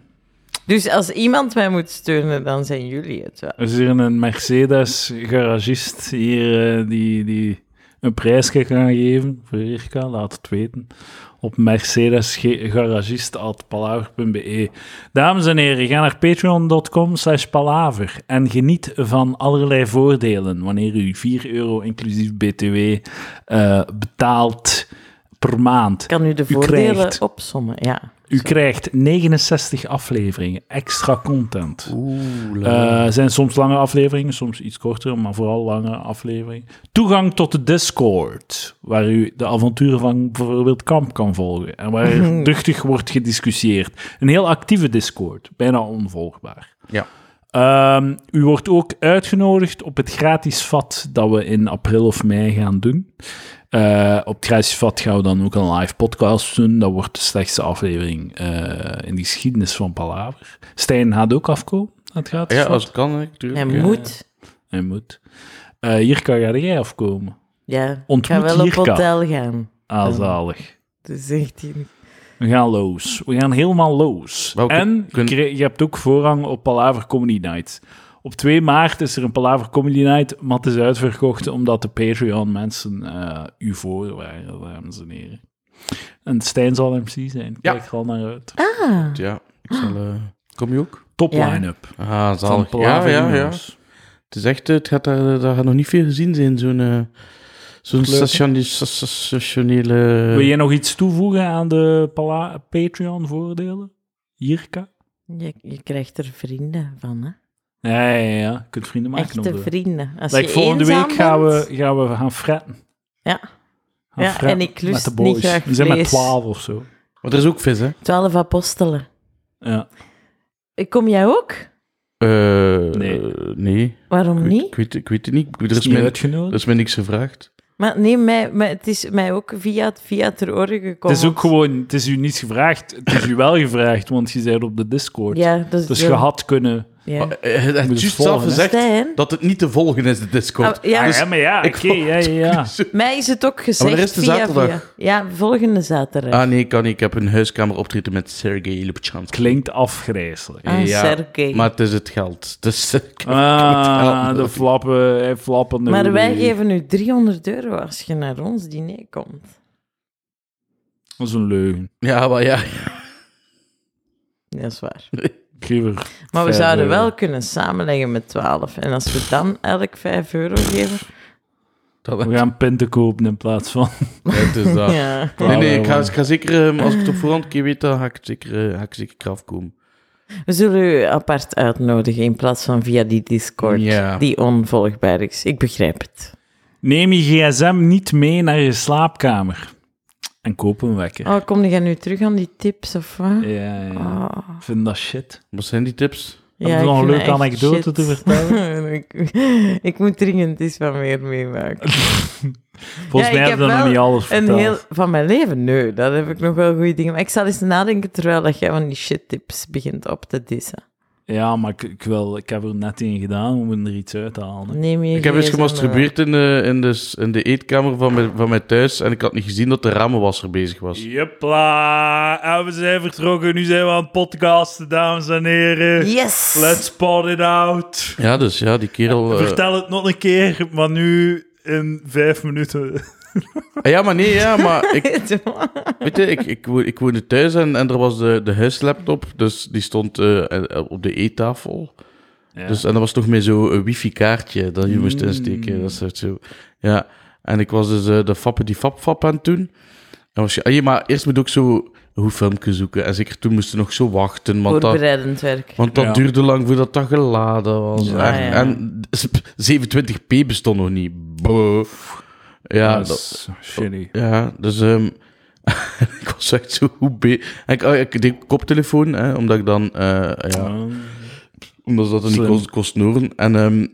Dus als iemand mij moet steunen, dan zijn jullie het wel. Er is hier een Mercedes-garagist hier eh, die, die een prijs kan geven voor Irka, laat het weten. Op mercedesgaragist.palaver.be Dames en heren, ga naar patreon.com slash palaver en geniet van allerlei voordelen wanneer u 4 euro inclusief btw eh, betaalt per maand. Ik kan u de U voordelen krijgt. opsommen, ja. U krijgt 69 afleveringen extra content. Oeh, la- Eh, zijn soms lange afleveringen, soms iets korter, maar vooral lange afleveringen. Toegang tot de Discord, waar u de avonturen van bijvoorbeeld Kamp kan volgen. En waar er duchtig wordt gediscussieerd. Een heel actieve Discord, bijna onvolgbaar. ja. Ehm, u wordt ook uitgenodigd op het gratis vat dat we in april of mei gaan doen. Eh, op het gratis vat gaan we dan ook een live podcast doen. Dat wordt de slechtste aflevering eh, in de geschiedenis van Palaver. Stijn gaat ook afkomen. aan Het gratis ja, vat. als het kan, hè, Hij natuurlijk. moet. Hij moet. Eh, Jirka, ga jij afkomen? Ja, ik Ontmoet ga wel op Jirka. hotel gaan. Ah, zalig. Dus zegt hij. We gaan los. We gaan helemaal los. Welke- en kun- je, kri- je hebt ook voorrang op Palaver Comedy Night. Op 2 maart is er een Palaver Comedy Night, maar het is uitverkocht omdat de Patreon-mensen eh, u voor waren, dames en heren. En Stijn zal MC zijn. Kijk er al naar uit. Ah, Ja, ik zal... eh, kom je ook? Top Ja. line-up Ah, van zalig. Ja, Palaver ja, ja. Juniors. Het is echt, eh, het gaat daar, daar gaat nog niet veel gezien zijn, zo'n eh, zo'n Leuke. station- sta- sta- stationele... Wil jij nog iets toevoegen aan de Pala- Patreon-voordelen? Jirka? je, je krijgt er vrienden van, hè. Ja, ja, ja. Je kunt vrienden maken. op Echte de- vrienden. Als Like, je volgende eenzaam week gaan we, bent- gaan we gaan fretten. Ja. Gaan Ja, fretten en ik met lust de boys. niet graag We zijn met vlees. 12 of zo. Maar er is ook vis, hè? Twaalf apostelen. Ja. Eh, Kom jij ook? Eh, Nee. eh, nee. Waarom Ik, niet? ik, weet, ik weet het niet. Ik- Er Is is, niet mij, er uitgenodigd. is mij niks gevraagd. Maar nee, mij, mij- het is mij ook via, via het ter oren Het gekomen. is ook gewoon, het is u niet gevraagd. Het is u wel gevraagd, want je bent op de Discord. Ja, dus dat is Dus je had kunnen Ja. Maar, eh, Het heeft het juist zelf volgen, hè? gezegd Stijn? dat het niet te volgen is, de Discord. Ah. Ah, ja. Ah, ja, maar Ah, ja, Dus ik oké, ja, ja, ja. Mij is het ook gezegd. maar er is de via, zaterdag. via- Ja, volgende zaterdag. Ah nee, kan niet. Ik heb een huiskamer optreden met Sergei Lubchansky. Klinkt afgrijzelijk. Ah, Sergej. Maar het is het geld. Dus *laughs* ik heb- Ah, moet de helpen. flappen, hij flappen. maar wij geven u 300 euro als je naar ons diner komt. Dat is een leugen. Ja, maar ja. Dat is waar. Ik geef er Maar we vijf zouden euro. wel kunnen samenleggen met 12. En als we dan elk 5 euro geven. Dat We gaan pinten kopen in plaats van... Ja, het is dat. Ja. Nee, nee, ik ga, ik ga zeker, eh, als ik het op voorhand een keer weet, dan ga ik het zeker, eh, ga ik zeker eraf komen. We zullen u apart uitnodigen in plaats van via die Discord, Ja. die onvolgbaar is. Ik begrijp het. Neem je gsm niet mee naar je slaapkamer. En koop een wekker. Oh, kom je nu terug aan die tips of wat? Ja, ja. Oh. Ik vind dat shit. *laughs* Wat zijn die tips? Heb je nog ik een vind leuke dat echt anekdote shit. te vertellen? *laughs* ik, ik moet dringend iets van meer meemaken. Volgens ik mij heb hebben we nog wel niet alles Een verteld. heel, van mijn leven? Nee, daar heb ik nog wel goede dingen. Maar ik zal eens nadenken terwijl dat jij van die shit tips begint op te dissen. Ja, maar ik, ik, wil, ik heb er net één gedaan. We moeten er iets uithalen. hè. Neem je Ik heb eens gsm gemasturbeerd in de, in de, s- in de eetkamer van mijn, van mijn thuis en ik had niet gezien dat de ramenwasser bezig was. Jepla, en we zijn vertrokken. Nu zijn we aan het podcasten, dames en heren. eraf. eh, Yes! *laughs* Let's pot it out. Ja, dus ja, die kerel... eh, Vertel het nog een keer, maar nu in vijf minuten. ah, Ja, maar nee, ja, maar ik, Doe. Weet je, ik, ik, wo- ik woonde thuis en, en er was de, de huislaptop, dus die stond eh, eh, op de eettafel. Dus, en dat was toch meer zo'n wifi-kaartje dat je moest insteken. Dat soort zo. Ja. En ik was dus eh, de fappen die fap-fap aan het doen. En was je, ah, ja, maar eerst moet ik ook zo hoe filmpje zoeken. En zeker toen moesten we nog zo wachten, want dat, Voorbereidend werk. want dat Ja. duurde lang voordat dat geladen was. Ja, en, ja. en 27p bestond nog niet. Boh. Ja, dat, is shitty. ja, dus ehm, *laughs* ik was echt zo goed be- en Ik, ah, ik deed koptelefoon, hè, omdat ik dan... eh, ja, omdat ze dat dan niet Slim. kost, kost snoren. En, ehm,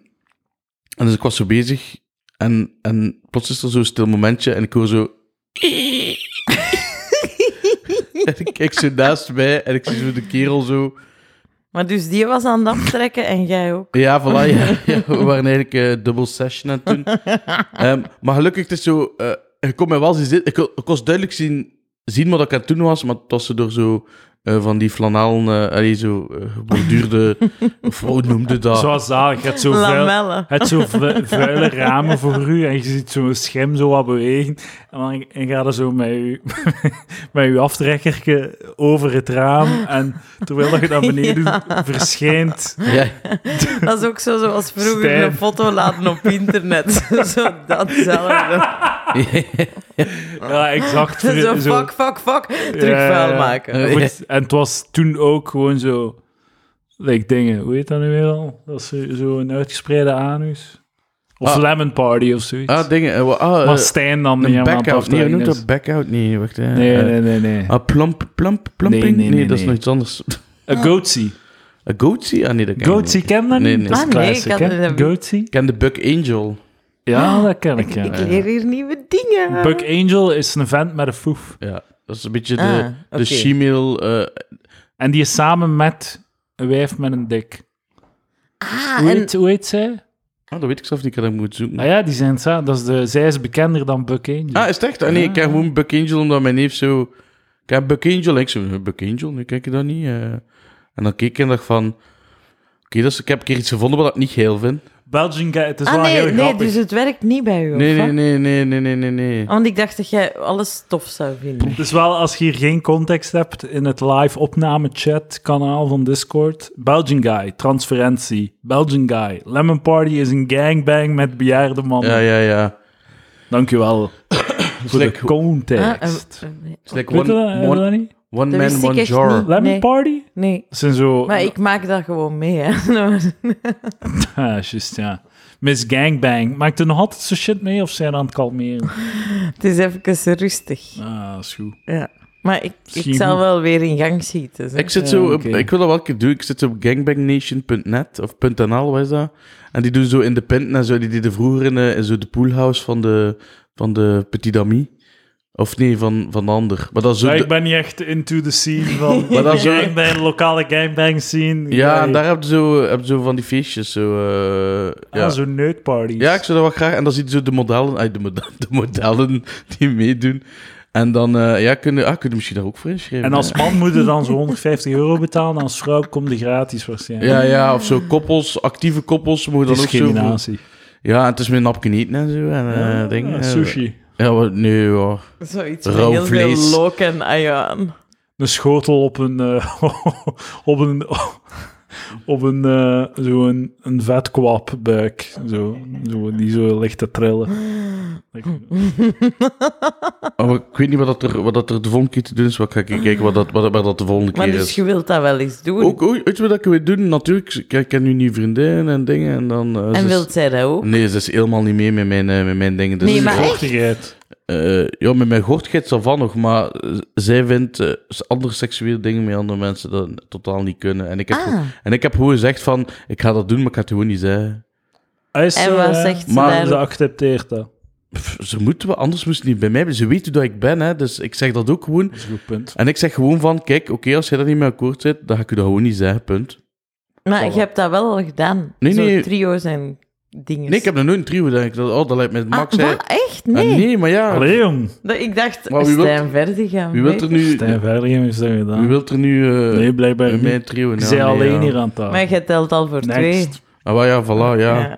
en dus ik was zo bezig. En, en plots is er zo'n stil momentje en ik hoor zo... *laughs* en ik kijk zo naast mij en ik zie zo de kerel zo... Maar dus die was aan het aftrekken en jij ook. Ja, voilà. *laughs* Ja, ja, we waren eigenlijk eh dubbel session aan het doen. Ehm, maar gelukkig, het is zo... eh ik kon mij wel zien zitten. Ik, kon- ik kon duidelijk zien, zien wat ik aan het doen was, maar het was zo door zo... eh, van die flanellen, eh allee, zo eh, *laughs* geborduurde... of hoe noemde dat? Zo zalig. Je hebt zo vuil, Lamellen. het zo vu- vuile ramen voor u en je ziet zo'n schim zo wat bewegen. En dan en gaat er zo met je, *laughs* met je aftrekkerke over het raam. En terwijl dat je naar *laughs* beneden doet, verschijnt. Ja, *laughs* Dat is ook zo zoals vroeger Stijn. een foto laten op internet. *laughs* zo datzelfde. Ja, exact. zo vri- zo- fuck, fuck, fuck. Terug Ja, ja, vuil ja. maken. Ja, goed, En het was toen ook gewoon zo... Like dingen, hoe heet dat nu weer al? Dat is zo- zo'n uitgespreide anus. Of Ah. lemon party of zoiets. ah, dingen. eh, wa- ah, maar eh, Stijn dan niet een helemaal aan het back-out. Nee, hoe noemt aftrekken dat back-out? Nee, wacht. hè. is. Nee, Eh, nee, nee, nee. Ah, plump, plump, plumping? Nee, Nee, nee, nee, dat is nee. nog iets anders. Een goatsie. Een goatsie? Ah, nee, dat ken ik Goatsie niet. ken dat Nee, niet? nee. Dat is Ah, nee, classic, ik had hè? het- Ah. Goatsie? Ik ken de Buck Angel. Ja, dat ken ik, ja. Ik leer hier nieuwe dingen. Buck Angel is een vent met een foef. Ja, dat is een beetje de, Ah, oké. de she-male... eh, En die is samen met een wijf met een dik. Ah, Hoe en heet, hoe heet zij? ah, dat weet ik zelf niet, ik had dat moeten zoeken. Ah ja, die zijn samen. Dat is de, zij is bekender dan Buck Angel. Ah, is het echt? Ah, nee, ik ken gewoon Buck Angel, omdat mijn neef zo... Ik heb Buck Angel. En ik zo, Buck Angel? Nu kijk je dat niet. eh. En dan keek ik en dacht van... Oké, dus ik heb een keer iets gevonden wat ik niet heel vind. Belgian guy, het is ah, wel nee, heel nee, grappig. dus het werkt niet bij u. Nee, of wat? nee, nee, nee, nee, nee, nee, nee. Want ik dacht dat jij alles tof zou vinden. Dus wel, als je hier geen context hebt in het live opname chat kanaal van Discord. Belgian Guy, transferentie. Belgian Guy. Lemon Party is een gangbang met bejaarde mannen. Ja, ja, ja. *coughs* Dankjewel voor de like- context. Ah, eh, eh, It's like Weet je one, dat- weet je one, dat niet? one Dat wist man, ik one echt jar. niet. Lemon Nee. Party? Nee, Dat zijn zo... maar ik maak dat gewoon mee, hè. *laughs* Nou, Ah, juist, ja. Miss Gangbang. Maakt er nog altijd zo shit mee of zijn aan het *laughs* kalmeren? het is even rustig. Ah, is goed. Ja. Maar ik, ik Misschien- zal wel weer in gang schieten. zeg. Ik zit Ja, zo, op- oké. ik wil dat wel een keer doen. Ik zit op gangbangnation.net of .nl, wat is dat? En die doen zo independent en zo. Die deden vroeger in, eh, in zo de poolhouse van de, van de Petit Ami. Of nee, van, van de ander. Maar dat is ook Ja, de- ik ben niet echt into the scene van *laughs* Maar dat is ook- gangbang, lokale gangbang scene. Ja, Nee. en daar heb je zo, heb je zo van die feestjes. Zo, eh, Ah, ja. zo'n neukparties. ja, ik zou dat wel graag. En dan zie je zo de modellen, ah, de, model- *laughs* de modellen die meedoen. En dan eh, ja, kun, je, ah, kun je misschien daar ook voor inschrijven. En als hè? man moet je dan zo'n 150 euro betalen, als vrouw komt die gratis waarschijnlijk. Ja, ja, of zo koppels, actieve koppels. Mogen dan ook zo voor- Discriminatie. Ja, en het is met napken eten en zo. En, eh dingen. Ja, Ah, sushi. Ja, wat, nee, ja. Zoiets Rauw van heel vlees. veel lok en ayaan. Een schotel op een... eh, *laughs* op een... *laughs* Op een, eh zo'n een vet kwap buik. Zo, zo, die zo ligt te trillen. Oh, maar ik weet niet wat, dat er, wat dat er de volgende keer te doen is. Wat ga ik kijken wat dat, wat, waar dat de volgende Maar keer dus is. je wilt dat wel eens doen. Ook, ook, weet je wat ik wil doen? Natuurlijk, ik ik ken nu nieuwe vriendin en dingen. En, dan, eh, en ze is- wilt zij dat ook? Nee, ze is helemaal niet mee met mijn, eh, met mijn dingen. Dus, Nee, maar eh, echt? Vochtigheid. eh, ja, met mijn gortgeit zal van nog, maar eh, zij vindt eh, andere seksuele dingen met andere mensen dat totaal niet kunnen. En ik heb, Ah. en ik heb gewoon gezegd van, ik ga dat doen, maar ik ga het gewoon niet zeggen. Hij is En zo, wat hè. zegt ze maar En ze daar? accepteert dat. Pff, ze moeten wel, anders moest ze niet bij mij zijn. Ze weet hoe dat ik ben, hè, dus ik zeg dat ook gewoon. Dat is een goed punt. En ik zeg gewoon van, kijk, oké, als jij daar niet mee akkoord zit, dan ga ik je dat gewoon niet zeggen, punt. Maar Voilà. je hebt dat wel al gedaan. Nee, Zo nee. trio's en dingen. Nee, ik heb nog nooit een trio, denk ik. Dat, oh, dat lijkt me Ah, Max, hè. wat? Echt? Ah, Nee. nee, maar ja, Allee, jong. Dat- Ik dacht, Maar wie wilt- Stijn verder gaan. wie wilt er nu... Stijn Verligem heeft dat Wie gedaan. wilt er nu... eh, nee, blijkbaar bij niet. mijn trio? Nou, Ik zei nee, alleen ja. hier aan tafel. Maar je telt al voor Next. twee. Ah, wel, ja, voilà, ja. Ja.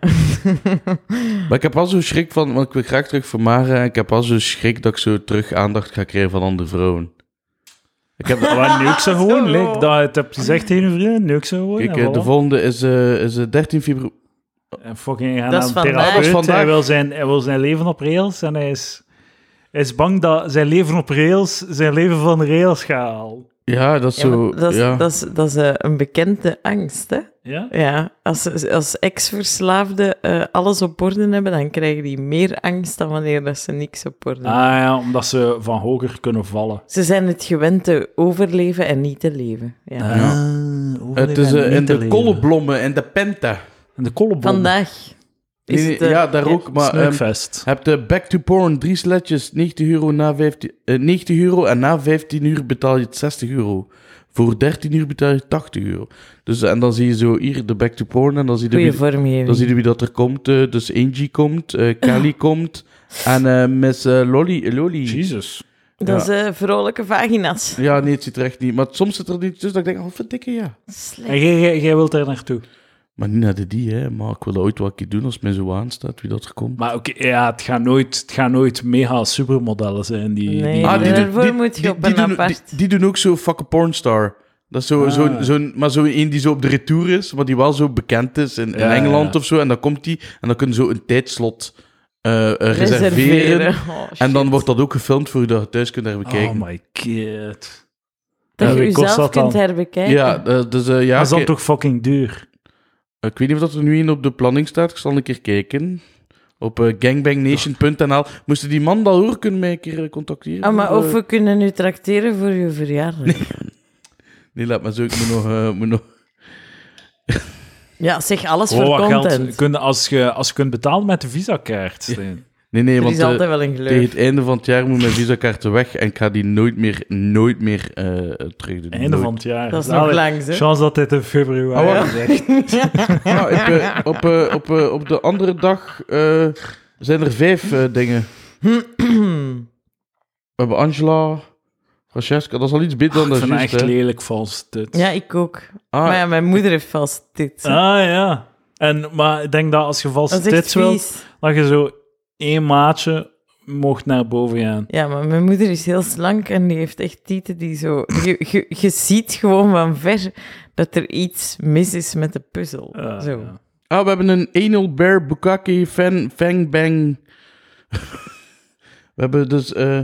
Maar ik heb wel zo'n schrik van, want ik wil graag terug vermageren. En ik heb wel zo'n schrik dat ik zo terug aandacht ga krijgen van andere vrouwen. Oh, Ik heb, Maar neuk ze gewoon. *laughs* Zo. Leek dat je het hebt gezegd tegen een vriend, neuk ze gewoon. kijk, en eh, de voilà. volgende is, eh, is eh, 13 februari. En fucking gaan Dat aan een is vandaag. therapeut. Dat is vandaag. Hij, wil zijn, hij wil zijn leven op rails en hij is, hij is bang dat zijn leven op rails zijn leven van de rails gaat halen. Ja, dat is Ja, *laughs* zo. maar dat is, ja. dat is, dat is eh, een bekende angst, hè? Ja? Ja, als, als ex-verslaafden eh, alles op orde hebben, dan krijgen die meer angst dan wanneer dat ze niks op orde hebben. Ah ja, omdat ze van hoger kunnen vallen. Ze zijn het gewend te overleven en niet te leven. Ja. Ah, het is eh, in de kolenblommen, in de penta. In de kolenbom. Vandaag is Nee, nee, het... eh, ja, daar ook. Maar ehm, Sneukfest. heb de back to porn drie sletjes, 90 euro, na 15, eh, 90 euro en na 15 uur betaal je het 60 euro. Voor 13 uur betaal je 80 euro. Dus, eh, en dan zie je zo hier de back to porn en dan zie je Goeie wie- vormgeving. Dan zien we wie dat er komt. eh, dus Angie komt, eh *laughs* Kelly komt en eh Miss eh, Lolly. eh, Lolly. Jesus. Dat is eh, vrolijke vagina's. Ja, nee, het zit er echt niet. Maar soms zit er niet tussen dat ik denk, oh, verdikke, ja. En Slecht. jij- jij jij wilt daar naartoe. Maar niet naar de die, hè. Maar ik wil dat ooit wel een keer doen als mij zo aanstaat, wie dat er komt. Maar oké, ja, het gaan nooit, het gaan nooit mega supermodellen zijn die... Nee. die Ah, doen- daarvoor moet je op een doen, apart. Die, die doen ook zo fucking pornstar. Dat is zo, Ah. zo'n, zo'n, maar zo'n een die zo op de retour is, maar die wel zo bekend is in, in Ja, ja, Engeland ja. of zo. En dan komt die en dan kunnen ze zo een tijdslot eh, eh, reserveren. Oh, shit. En dan wordt dat ook gefilmd voor je dat je thuis kunt naar Oh bekijken. my god. Dat Ja, je wie kost jezelf dat dan? kunt herbekijken. ja, eh, dus eh, ja, dat is dan oké. Eh, toch fucking duur? Ik weet niet of dat er nu een op de planning staat. Ik zal een keer kijken. Op eh, gangbangnation.nl. Moesten die man dat horen, kunnen mij een keer eh, contacteren? Ah, maar eh, of we kunnen u tracteren voor uw verjaardag. Nee, laat maar zo. Ik moet nog... eh, moet nog... Ja, zeg alles Gewoon voor Oh, wat content. Kun, als, je, als je kunt betalen met de visakaart, Stijn. Nee, nee, Er want is eh, altijd wel een tegen geloof. het einde van het jaar moet mijn visakaarten weg. En ik ga die nooit meer, nooit meer eh terug doen. Einde van het jaar. Dat is nog Zalig. langs, hè? Chance dat dit in februari Ah, wacht. is. echt. Ja, ik, eh, op, eh, op, eh, op de andere dag eh, zijn er vijf eh, dingen. We hebben Angela, Francesca. Dat is al iets beter dan Ik dat vind dat juist, echt hè. lelijk vals, dit. *clears throat* Ja, ik ook. Ah, Maar ja, mijn moeder heeft vast dit. hè. Ah, ja. En, maar ik denk dat als je vals Dat is echt dit wilt, vies. dat je zo één maatje mocht naar boven gaan. Ja, maar mijn moeder is heel slank en die heeft echt tieten die zo... Je, je, je ziet gewoon van ver dat er iets mis is met de puzzel. Ja, zo. Eh, ja. Ah, we hebben een Anal Bear Bukake Fan Fang Bang. *laughs* we hebben dus. eh,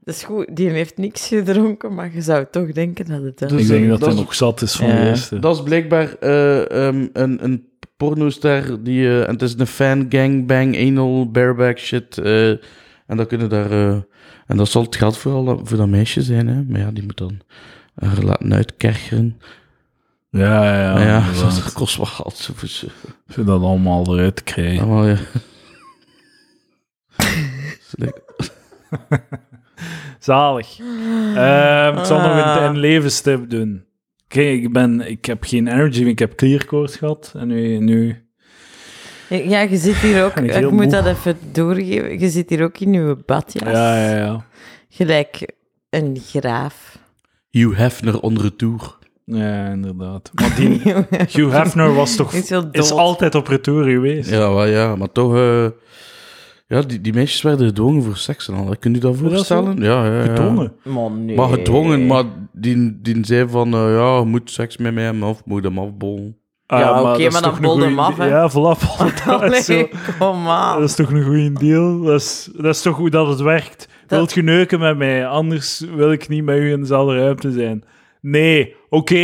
Dat is goed, die heeft niks gedronken, maar je zou toch denken dat het... wel- Dus, ik eh, denk dat dat hij is- nog zat is van Ja. de eerste. dat is blijkbaar eh, ehm, een, een pornoster die. eh, en het is een fan gangbang anal bareback shit. eh, en dat kunnen daar. eh, en dat zal het geld vooral dat- voor dat meisje zijn, hè? Maar ja, die moet dan. haar laten uitkerkeren. Ja, ja, ja. Maar ja, inderdaad. *laughs* dat kost wel geld. zo voor ze. Voor dat *laughs* allemaal eruit te krijgen. Allemaal, ja. Ze denkt- Zalig. Ehm, ik zal nog Ah. een, een levenstip doen. Oké, ik, ben, ik heb geen energy, ik heb clearcourt gehad. En nu, nu... Ja, je zit *laughs* hier ook... Ik ben Ik, heel moet moe. dat even doorgeven. Je zit hier ook in uw badjas. Ja, ja, ja. Gelijk een graaf. Hugh Hefner onder retour. Ja, inderdaad. Want *laughs* die Hugh Hefner was toch... Is wel Is dood. altijd op retour geweest. Ja, wel, ja, maar toch... eh, ja, die, die meisjes werden gedwongen voor seks en al. hè. Kun je dat dat voorstellen? Ja, ja, ja. Gedwongen. Man, nee. Maar gedwongen, *laughs* maar die, die zei van... eh, ja, je moet seks met mij hebben of moet je hem afbollen. Ah, Ja, oké, dat is maar toch dan een bolde goeie- hem af, hè. Ja, voilà, *laughs* bolde hem Allee, uit, zo. Oh, kom aan. Dat is toch een goede deal? Dat is, dat is toch hoe dat het werkt? Wilt je neuken met mij? Anders wil ik niet met u in dezelfde ruimte zijn. Nee, oké,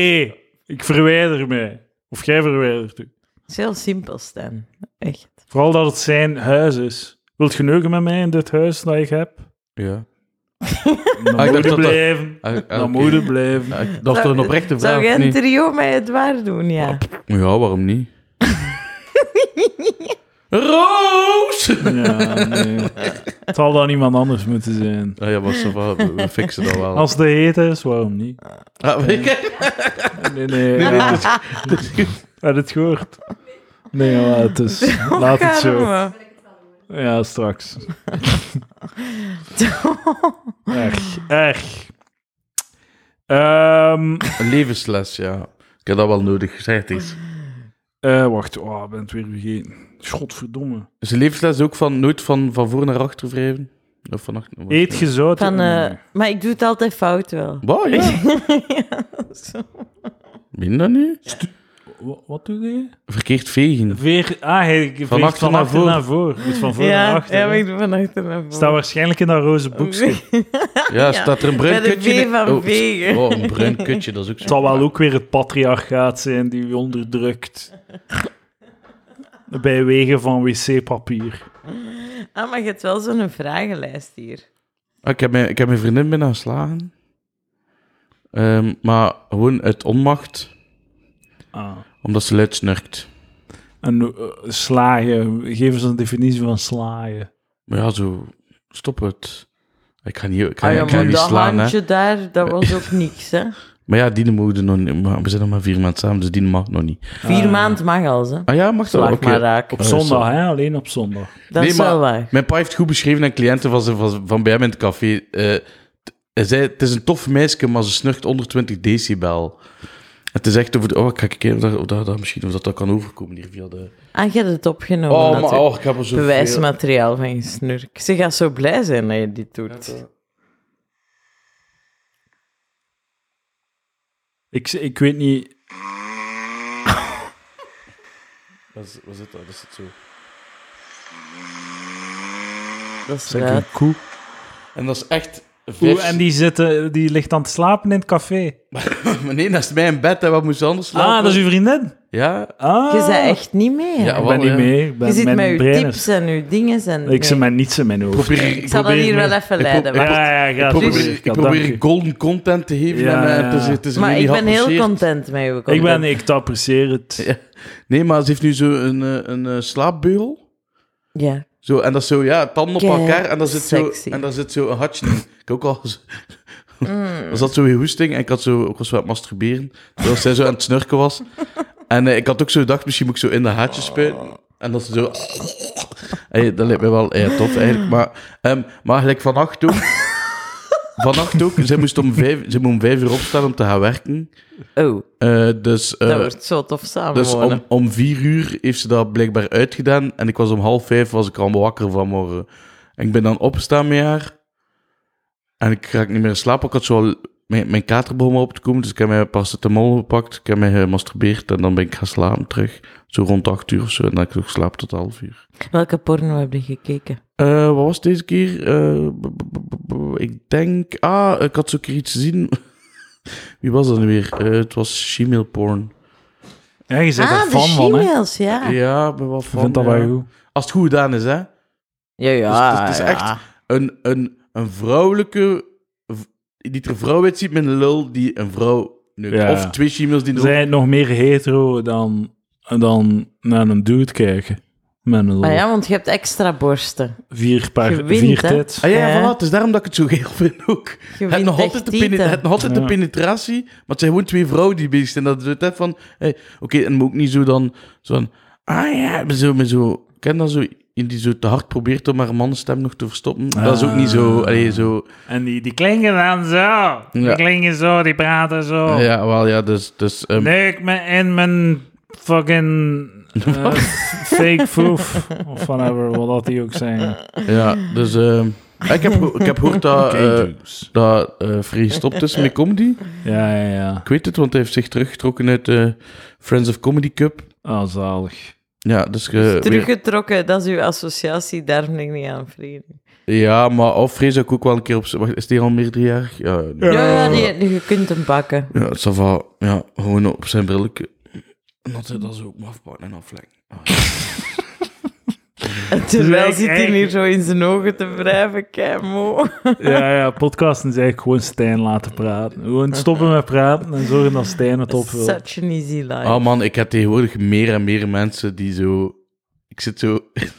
ik verwijder mij. Of jij verwijdert u. Het is heel simpel, Stan. Echt. Vooral dat het zijn huis is. Wilt je neuken met mij in dit huis dat ik heb? Dan Ja. Ah, ik moet dacht je dat- blijven. Nou, Ah, ah, Dan oké. moet je blijven. Ah, ik- Dat is toch Zou- een oprechte vraag, Zou jij of een niet? trio met het waar doen, ja? Ja, waarom *laughs* niet? *laughs* Roos! Ja, nee. Het zal dan iemand anders moeten zijn. Ah ja, maar ça va, we, we fixen dat wel. Als de heet is, waarom niet? Ah, weet je- Nee, nee. *laughs* Nee, ja. nee, dat is- dat is- Had het gehoord? Nee, maar het *laughs* is... Laat het zo. Karma. Ja, *laughs* straks. Erg, erg. Ehm, Een levensles, ja. Ik heb dat wel nodig, gezegd is. eh, wacht, oh, ik ben het weer vergeten. Godverdomme. Is een levensles ook van nooit van, van voor naar achter wrijven? Of van achter? Eet gezout. Van, Mm. eh, maar ik doe het altijd fout wel. Wow, *laughs* ja. Zo. Meen dat nu? Wa- Wat doe je? Verkeerd vegen. Veer, ah, hij veegt van achter achter naar naar voor. voren. Naar voor. Je moet van voor naar Ja, achter. ja, maar hè. ik doe van achter naar voren. Staat waarschijnlijk in dat roze boekje. *laughs* Ja, staat er een bruin Bij de kutje V van Oh, vegen. Oh, een bruin *laughs* kutje, dat is ook zo. Het zal wel ook weer het patriarchaat zijn die u onderdrukt. Bij wegen van wc-papier. Ah, maar je hebt wel zo'n vragenlijst hier. Ah, ik, heb mijn, ik heb mijn vriendin bijna geslagen. Ehm, maar gewoon uit onmacht, Ah. omdat ze luid snurkt. En eh, slaaien, geef eens een definitie van slaaien. Maar ja, zo, stop het. Ik ga niet, ik ga, Ah, ja, ik ga maar niet dat slaan, hè. handje daar, dat was ook niks, hè. Maar ja, die mogen nog niet. maar we zijn nog maar vier maanden samen, dus die mag nog niet. Vier maanden mag al, hè. Ah ja, mag dat? Slaag Ah. Oké. maar raak. Op Eh, zondag, sorry. hè? alleen op zondag. Dat Nee, is maar- wel waar. Mijn pa heeft goed beschreven aan cliënten van, zijn- van, van bij hem in het café. Eh, t- hij zei, het is een tof meisje, maar ze snurkt onder 20 decibel. Het is echt over de... Oh, ik ga kijken of dat, of dat, dat misschien of dat, dat kan overkomen hier via de... Ah, je hebt het opgenomen, Oh, maar, natuurlijk. oh ik heb er zo Bewijsmateriaal van je snurk. Ze gaat zo blij zijn dat je dit doet. Ik, ik weet niet. Wat is, wat is dat? Dat is het zo. Dat is Zeg raar. een koe. En dat is echt vers. Oeh, en die, zitten, die ligt aan te slapen in het café. *laughs* Maar nee, naast mij in bed, en wat moest ze anders slapen? Ah, dat is uw vriendin. Ja, Ah, Je bent echt niet mee. hè? Ja, Ik wel, ben niet ja. mee. Ik ben, je zit mijn met je brein tips is- en je dingen. En, Ik zit nee. met niets in mijn hoofd. probeer... Ik zal dat probeer hier mee. wel even Ik leiden. probeer- wacht. Ja, ja, Ik ga probeer, zo. ik Ja, probeer dank u. golden content te geven. Ja, en, eh, het is, ja. het is maar really ik ben heel geapprecieerd. content met je Ik, ben, content. ik apprecieer het. Ja. Nee, maar ze heeft nu zo een, eh, een eh, slaapbeugel. Ja. Zo, en dat is zo, ja, tanden op Kei elkaar. En daar zit, zo, sexy. Mm. en daar zit zo een hartje in. Ik ook al... *laughs* zo- Er zat zo een hoesting en ik had zo, ook was zo aan het masturberen. Terwijl zij zo aan het snurken was. En eh, ik had ook zo gedacht, misschien moet ik zo in de haartjes spuiten. En dat ze zo... Hey, dat lijkt me wel eh, tof eigenlijk. Maar, ehm, maar gelijk vannacht *laughs* ook... Vannacht ook. Zij moest om vijf, zij moet om vijf uur opstaan om te gaan werken. Oh, Eh, dus... eh, dat wordt zo tof samen dus wonen. om, om vier uur heeft ze dat blijkbaar uitgedaan. En ik was om half vijf was ik al wakker vanmorgen. En ik ben dan opgestaan met haar. En ik raak niet meer in slaap. Ik had zo al mijn, mijn kater begon op te komen. Dus ik heb mijn paracetamol gepakt. Ik heb mij gemasturbeerd. En dan ben ik gaan slapen terug. Zo rond acht uur of zo. En dan heb ik nog geslapen tot half uur. Welke porno heb je gekeken? Eh, wat was deze keer? Eh, b- b- b- b- ik denk... Ah, ik had zo een keer iets gezien. *laughs* Wie was dat nu weer? Eh, het was Gmail porn. Ja, je bent ah, er de fan van, hè? Ik Gmails, ja. Ja, Ja, ik ben wel van. Ah. vind dat ja. wel goed. Als het goed gedaan is, hè? ja. Dus het is- het is ja. een, een, een vrouwelijke. v- die er vrouw uitziet met een lul die een vrouw. neukt. Ja. Of twee chimels die. Zij nog meer hetero dan, dan naar een dude kijken. Met een lol. Maar Ah, ja, want je hebt extra borsten. Vier paar, Je wint, vier hè? tijd. Ah ja, ja, Ja. voilà, het is daarom dat ik het zo geel *laughs* vind ook. Je Het wint nog, echt altijd de pene- tieten. het nog altijd Ja. de penetratie, maar het zijn gewoon twee vrouwen die bezig zijn. Dat is het hè, van, hey, oké, en moet ook niet zo dan, zo van, ah ja, maar zo, maar zo, ken dan zo, in die zo te hard probeert om haar mannenstem nog te verstoppen. Dat is ook niet zo, allee, zo, En die, die klinken dan zo. Die klinken zo, die praten zo. ja, wel, ja, dus, dus, ehm, Leuk me in mijn *laughs* fucking eh, fake foof. Of whatever, wat dat die ook zijn. ja, dus, ehm, ik heb, geho- ik heb gehoord dat, eh, Cages. dat eh Free gestopt is met comedy. Ja, ja, ja. Ik weet het, want hij heeft zich teruggetrokken uit de Friends of Comedy Cup. Oh, zalig. Ja, dus ge- weer- Teruggetrokken, dat is uw associatie, daar ben ik niet aan, vrienden. Ja, maar Alfred zou ik ook wel een keer op... Wacht, is die al meerderjarig? Ja, nee. Ja, ja, die- je kunt hem pakken. Ja, ça va. Ja, gewoon op zijn brilletje. En dat hij dat zo ook mag afpakken en afleggen. En terwijl Lijkt zit hij eigenlijk- hier zo in zijn ogen te wrijven, keimo. Ja, ja, podcasten is eigenlijk gewoon Stijn laten praten. Gewoon stoppen met praten en zorgen dat Stijn het op wil. Such an easy life. Ah man, ik heb tegenwoordig meer en meer mensen die zo... Ik zit zo...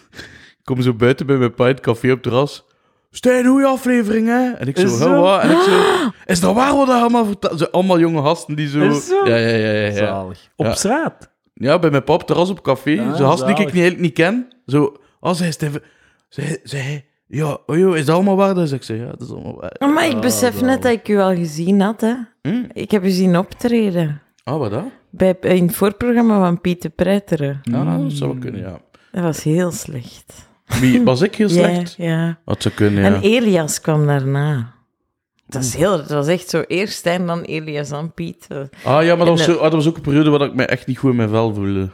*laughs* ik kom zo buiten bij mijn pint café op het terras. Stijn, hoe je aflevering, hè? En ik zo, Is "Hè, zo? wat?" En ik zo, *gasps* is dat waar wat hij allemaal vertelt? Zo, Allemaal jonge gasten die zo... Is zo? Ja, ja, ja, ja. ja. Zalig. Op Ja. straat. Ja, bij mijn pap, terras op café. Ah, Zo'n gast die ik zalig. niet, eigenlijk niet ken. Zo, als hij Steven... Zij, zij, ja, oh joh, is dat allemaal waar? Dan zeg ik, zo, ja, dat is allemaal waar. Oh, maar ik besef net dat ik u al gezien had, hè. ah, Hm? Ik heb u zien optreden. Ah, wat dan? Bij, in het voorprogramma van Pieter Preiteren. Ja, nou, dat zou wel kunnen, ja. Dat was heel slecht. Wie, was ik heel slecht? Ja, ja. Dat zou kunnen, En ja. Elias kwam daarna. Dat, is heel, dat was echt zo eerst Stijn, dan Elias, dan Piet. Ah ja, maar dat was, en, zo, ah, dat was ook een periode waar ik me echt niet goed in mijn vel voelde.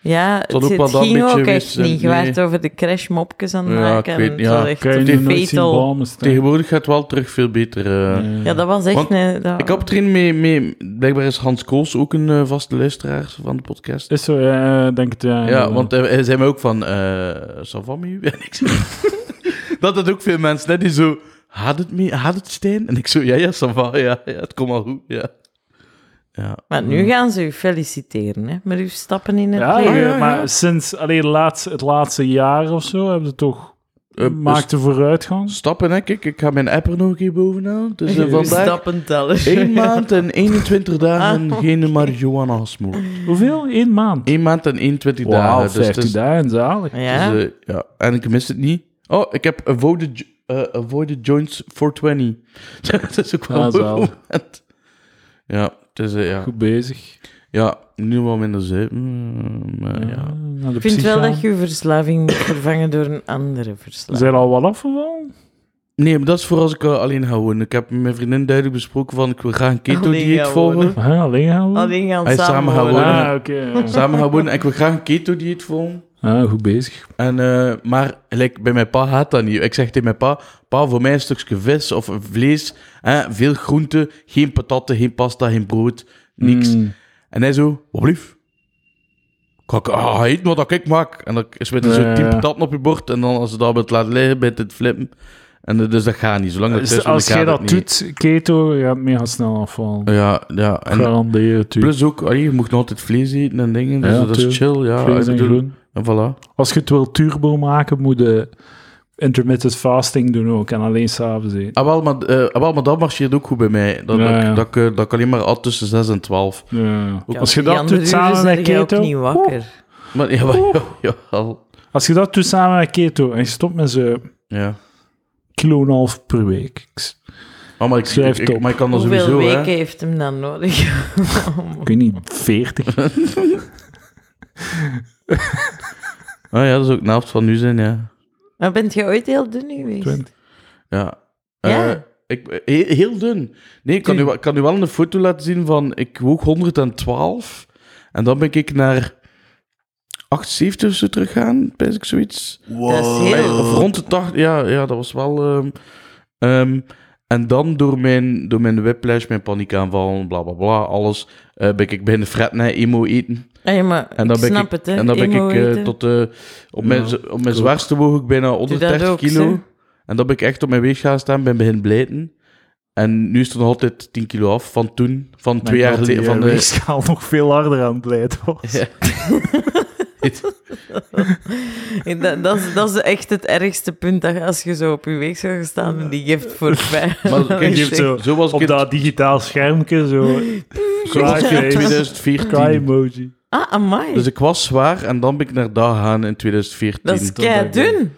Ja, het, had ook het wel dat ging beetje ook echt wist, niet. Je nee. waart over de crashmopjes aan het Ja, maken. ik weet- en ja, het was echt Kan je een nu nooit zien fatal- bomen staan. Tegenwoordig gaat het wel terug veel beter. eh. Ja, dat was echt... Want een, dat- Ik had erin mee, mee... Blijkbaar is Hans Kools ook een eh, vaste luisteraar van de podcast. Is zo, ja, denk het, ja. Ja, want hij, hij zei me ook van... eh Savami? *laughs* En ik zo- dat had ook veel mensen, net die zo... Had het, me, had het Stijn? En ik zo, ja, ja, Sava, ja, ja, het komt al goed, ja. Ja, Maar nu gaan ze u feliciteren, hè. Met uw stappen in het Ja, leven. je- Mm. ja, ja. maar sinds alleen laatst, het laatste jaar of zo hebben ze toch... Eh, maakte vooruitgang. stappen, hè, kijk, ik ga mijn app er nog een keer bovenaan. Dus eh, Uw vandaag stappenteller. *laughs* 1 maand en 21 dagen Ah, geen marihuana smoken. Hoeveel? Eén maand. 1 maand en 21 Wauw, dagen. Dus, het 50 is- dagen, zalig. Ja? dus, eh, ja, en ik mis het niet. Oh, ik heb avoided, jo- eh, avoided joints 420. *laughs* dat is ook wel Ah, een mooi zalig. moment. Ja, het is, eh, ja. Goed bezig. ja, nu wel minder zuipen. mm, maar ja. ik vind wel dat je uw verslaving moet vervangen door een andere verslaving. Zijn er al wat afgevallen? Nee, maar dat is voor als ik eh, alleen ga wonen. Ik heb met mijn vriendin duidelijk besproken van ik wil graag een Alleen keto-dieet gaan volgen. wonen. Huh, alleen gaan we? Alleen gaan Hij is samen samen gaan wonen. wonen. Ah, oké. ja. Samen gaan wonen en ik wil graag een keto-dieet volgen. Ah, goed bezig. En, eh, maar like, bij mijn pa gaat dat niet. Ik zeg tegen mijn pa, pa, voor mij een stukje vis of vlees, hè, veel groente, geen patatten, geen pasta, geen brood, *laughs* niks. Mm. En hij zo, wat blief? Kan ik ah, eten wat ik maak? En dan is met Ja, zo'n tien ja. patatten op je bord en dan als ze dat laat liggen, bij het flippen. En eh, dus dat gaat niet, zolang dat Dus thuis als woont, jij gaat dat het niet. doet, keto, je gaat mega snel afvallen. Ja, ja. En Garandeer het u. plus ook, allee, je moet nog altijd vlees eten en dingen, dus Ja, dat is tuurlijk. chill. Ja, Vlees ik en bedoel- groen. En voilà. Als je het wil turbo maken, moet je intermittent fasting doen ook. En alleen s'avonds eten. Ah wel, maar, eh, ah, wel, maar dat marcheert ook goed bij mij. Dat, Ja, dat, ik- ja. Dat, ik, eh, dat ik alleen maar at tussen 6 en 12. Ja. Ja, Als je Die dat andere doet uren samen zijn met jij ook keto... niet wakker. Maar ja, maar, ja, *laughs* jawel. Als je dat doet samen met keto en je stopt met zo'n ja. kilo en een half per week. Ik, Ah, maar, ik, Schrijf ik- het op. maar ik kan dat Hoeveel sowieso, weken hè. heeft hem dan nodig? ik weet niet, *laughs* 40. Ah ja, dat is ook de helft van nu zijn, ja. maar bent je ooit heel dun geweest? 20. Ja. Ja. Eh, ik, eh, heel, heel dun. Nee, ik kan, u, wel- ik kan u wel een foto laten zien van... Ik woog 112. En dan ben ik naar 78 of zo teruggaan, pijs ik zoiets. Dat is heel... Of rond de 80, ja, ja, dat was wel. ehm, ehm, en dan door mijn, door mijn whiplash, mijn paniekaanval, bla bla bla, alles. eh, ben ik bij de fret naar emo eten. Hey, maar En dan ik ben snap ik, het, hè. en dan ben ik Emo eh, eten. *laughs* tot. eh, op mijn, Ja, z- op mijn zwaarste woog ik bijna dat 130 ook, kilo. hè. En dan ben ik echt op mijn weeg gaan staan, ben begin blijten. En nu is het nog altijd 10 kilo af van eh, eh, *laughs* toen, van twee jaar geleden. Van de, nog veel harder aan het blijven was. Ja. eet. Dat, dat, is, dat is echt het ergste punt, dat je als je zo op je weg zou gaan staan en die geeft voorbij. *laughs* *laughs* Maar Dat kijk, is je hebt echt- zo, Zoals op ik het- dat digitaal schermpje, *laughs* zo... Zoals ik in Cry-face, *laughs* 2014. Cry-emoji. Ah, amai. Dus ik was zwaar en dan ben ik naar daar gegaan in 2014. dat is tot dat kei ik- dun.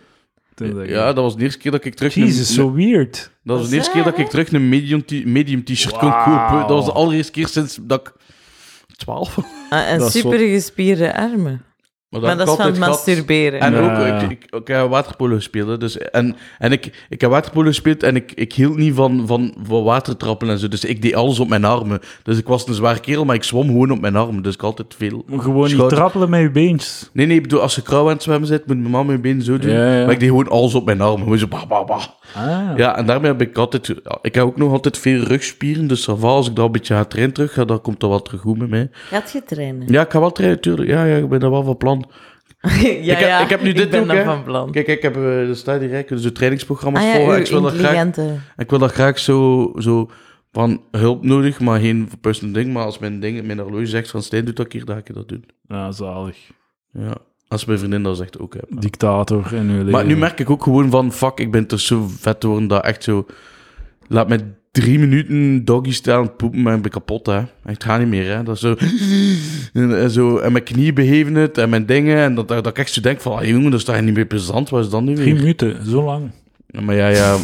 Ja, dat was de eerste keer dat ik terug... Jezus, een- zo weird. Dat was de eerste keer dat ik terug een medium, t- medium t-shirt kon Wauw. kopen. Dat was de allereerste keer sinds dat ik 12 was. Ah, en Dat is super gespierde armen. Maar heb dat ik is van altijd gehad. masturberen. En Ja. ook, ik, ik, ik heb waterpolo gespeeld. hè, Dus, en en ik, ik heb waterpolo gespeeld en ik, ik hield niet van, van, van watertrappen en zo. Dus ik deed alles op mijn armen. Dus ik was een zwaar kerel, maar ik zwom gewoon op mijn armen. Dus ik had altijd veel. Gewoon niet Schouder- trappelen met je beentjes. Nee, nee, ik bedoel, als je krauw aan het zwemmen zit, moet mijn man mijn been zo doen. Ja, ja. Maar ik deed gewoon alles op mijn armen. Gewoon zo bah, bah, bah. Ah. Ja, en daarmee heb ik altijd... ja, Ik heb ook nog altijd veel rugspieren, dus ça va, als ik daar een beetje ga trainen terug ga, dan komt dat wel terug goed met mij. Gaat je trainen? Ja, ik ga wel trainen, tuurlijk. Ja, ja, ik ben daar wel van plan. *laughs* ja, ik heb- ik heb nu dit ben ook, dan hè. van plan. Kijk, ik heb eh, de Stadie Rijk, dus de trainingsprogramma's Ah ja, volgen. uw Ik wil dat graag, intelligente. ik wil dat graag zo, zo van hulp nodig, maar geen personal ding. Maar als mijn, ding, mijn horloge zegt van Stijn, doe dat hier, dan ga ik dat doen. Ja, zalig. Ja. Als mijn vriendin dat zegt, ook. hè. Maar- Dictator in uw leven. Maar nu merk ik ook gewoon van, fuck, ik ben toch zo vet geworden dat echt zo... Laat me drie minuten doggy staan, poepen, maar ik ben kapot, hè. Ik ga niet meer, hè. Dat is zo... *laughs* En, en zo, en mijn knie beheven het, en mijn dingen. En dat, dat ik echt zo denk van, ah, jongen, dat is toch niet meer plezant? Wat is dan nu Drie weer? minuten, zo lang. Ja, Maar ja, ja...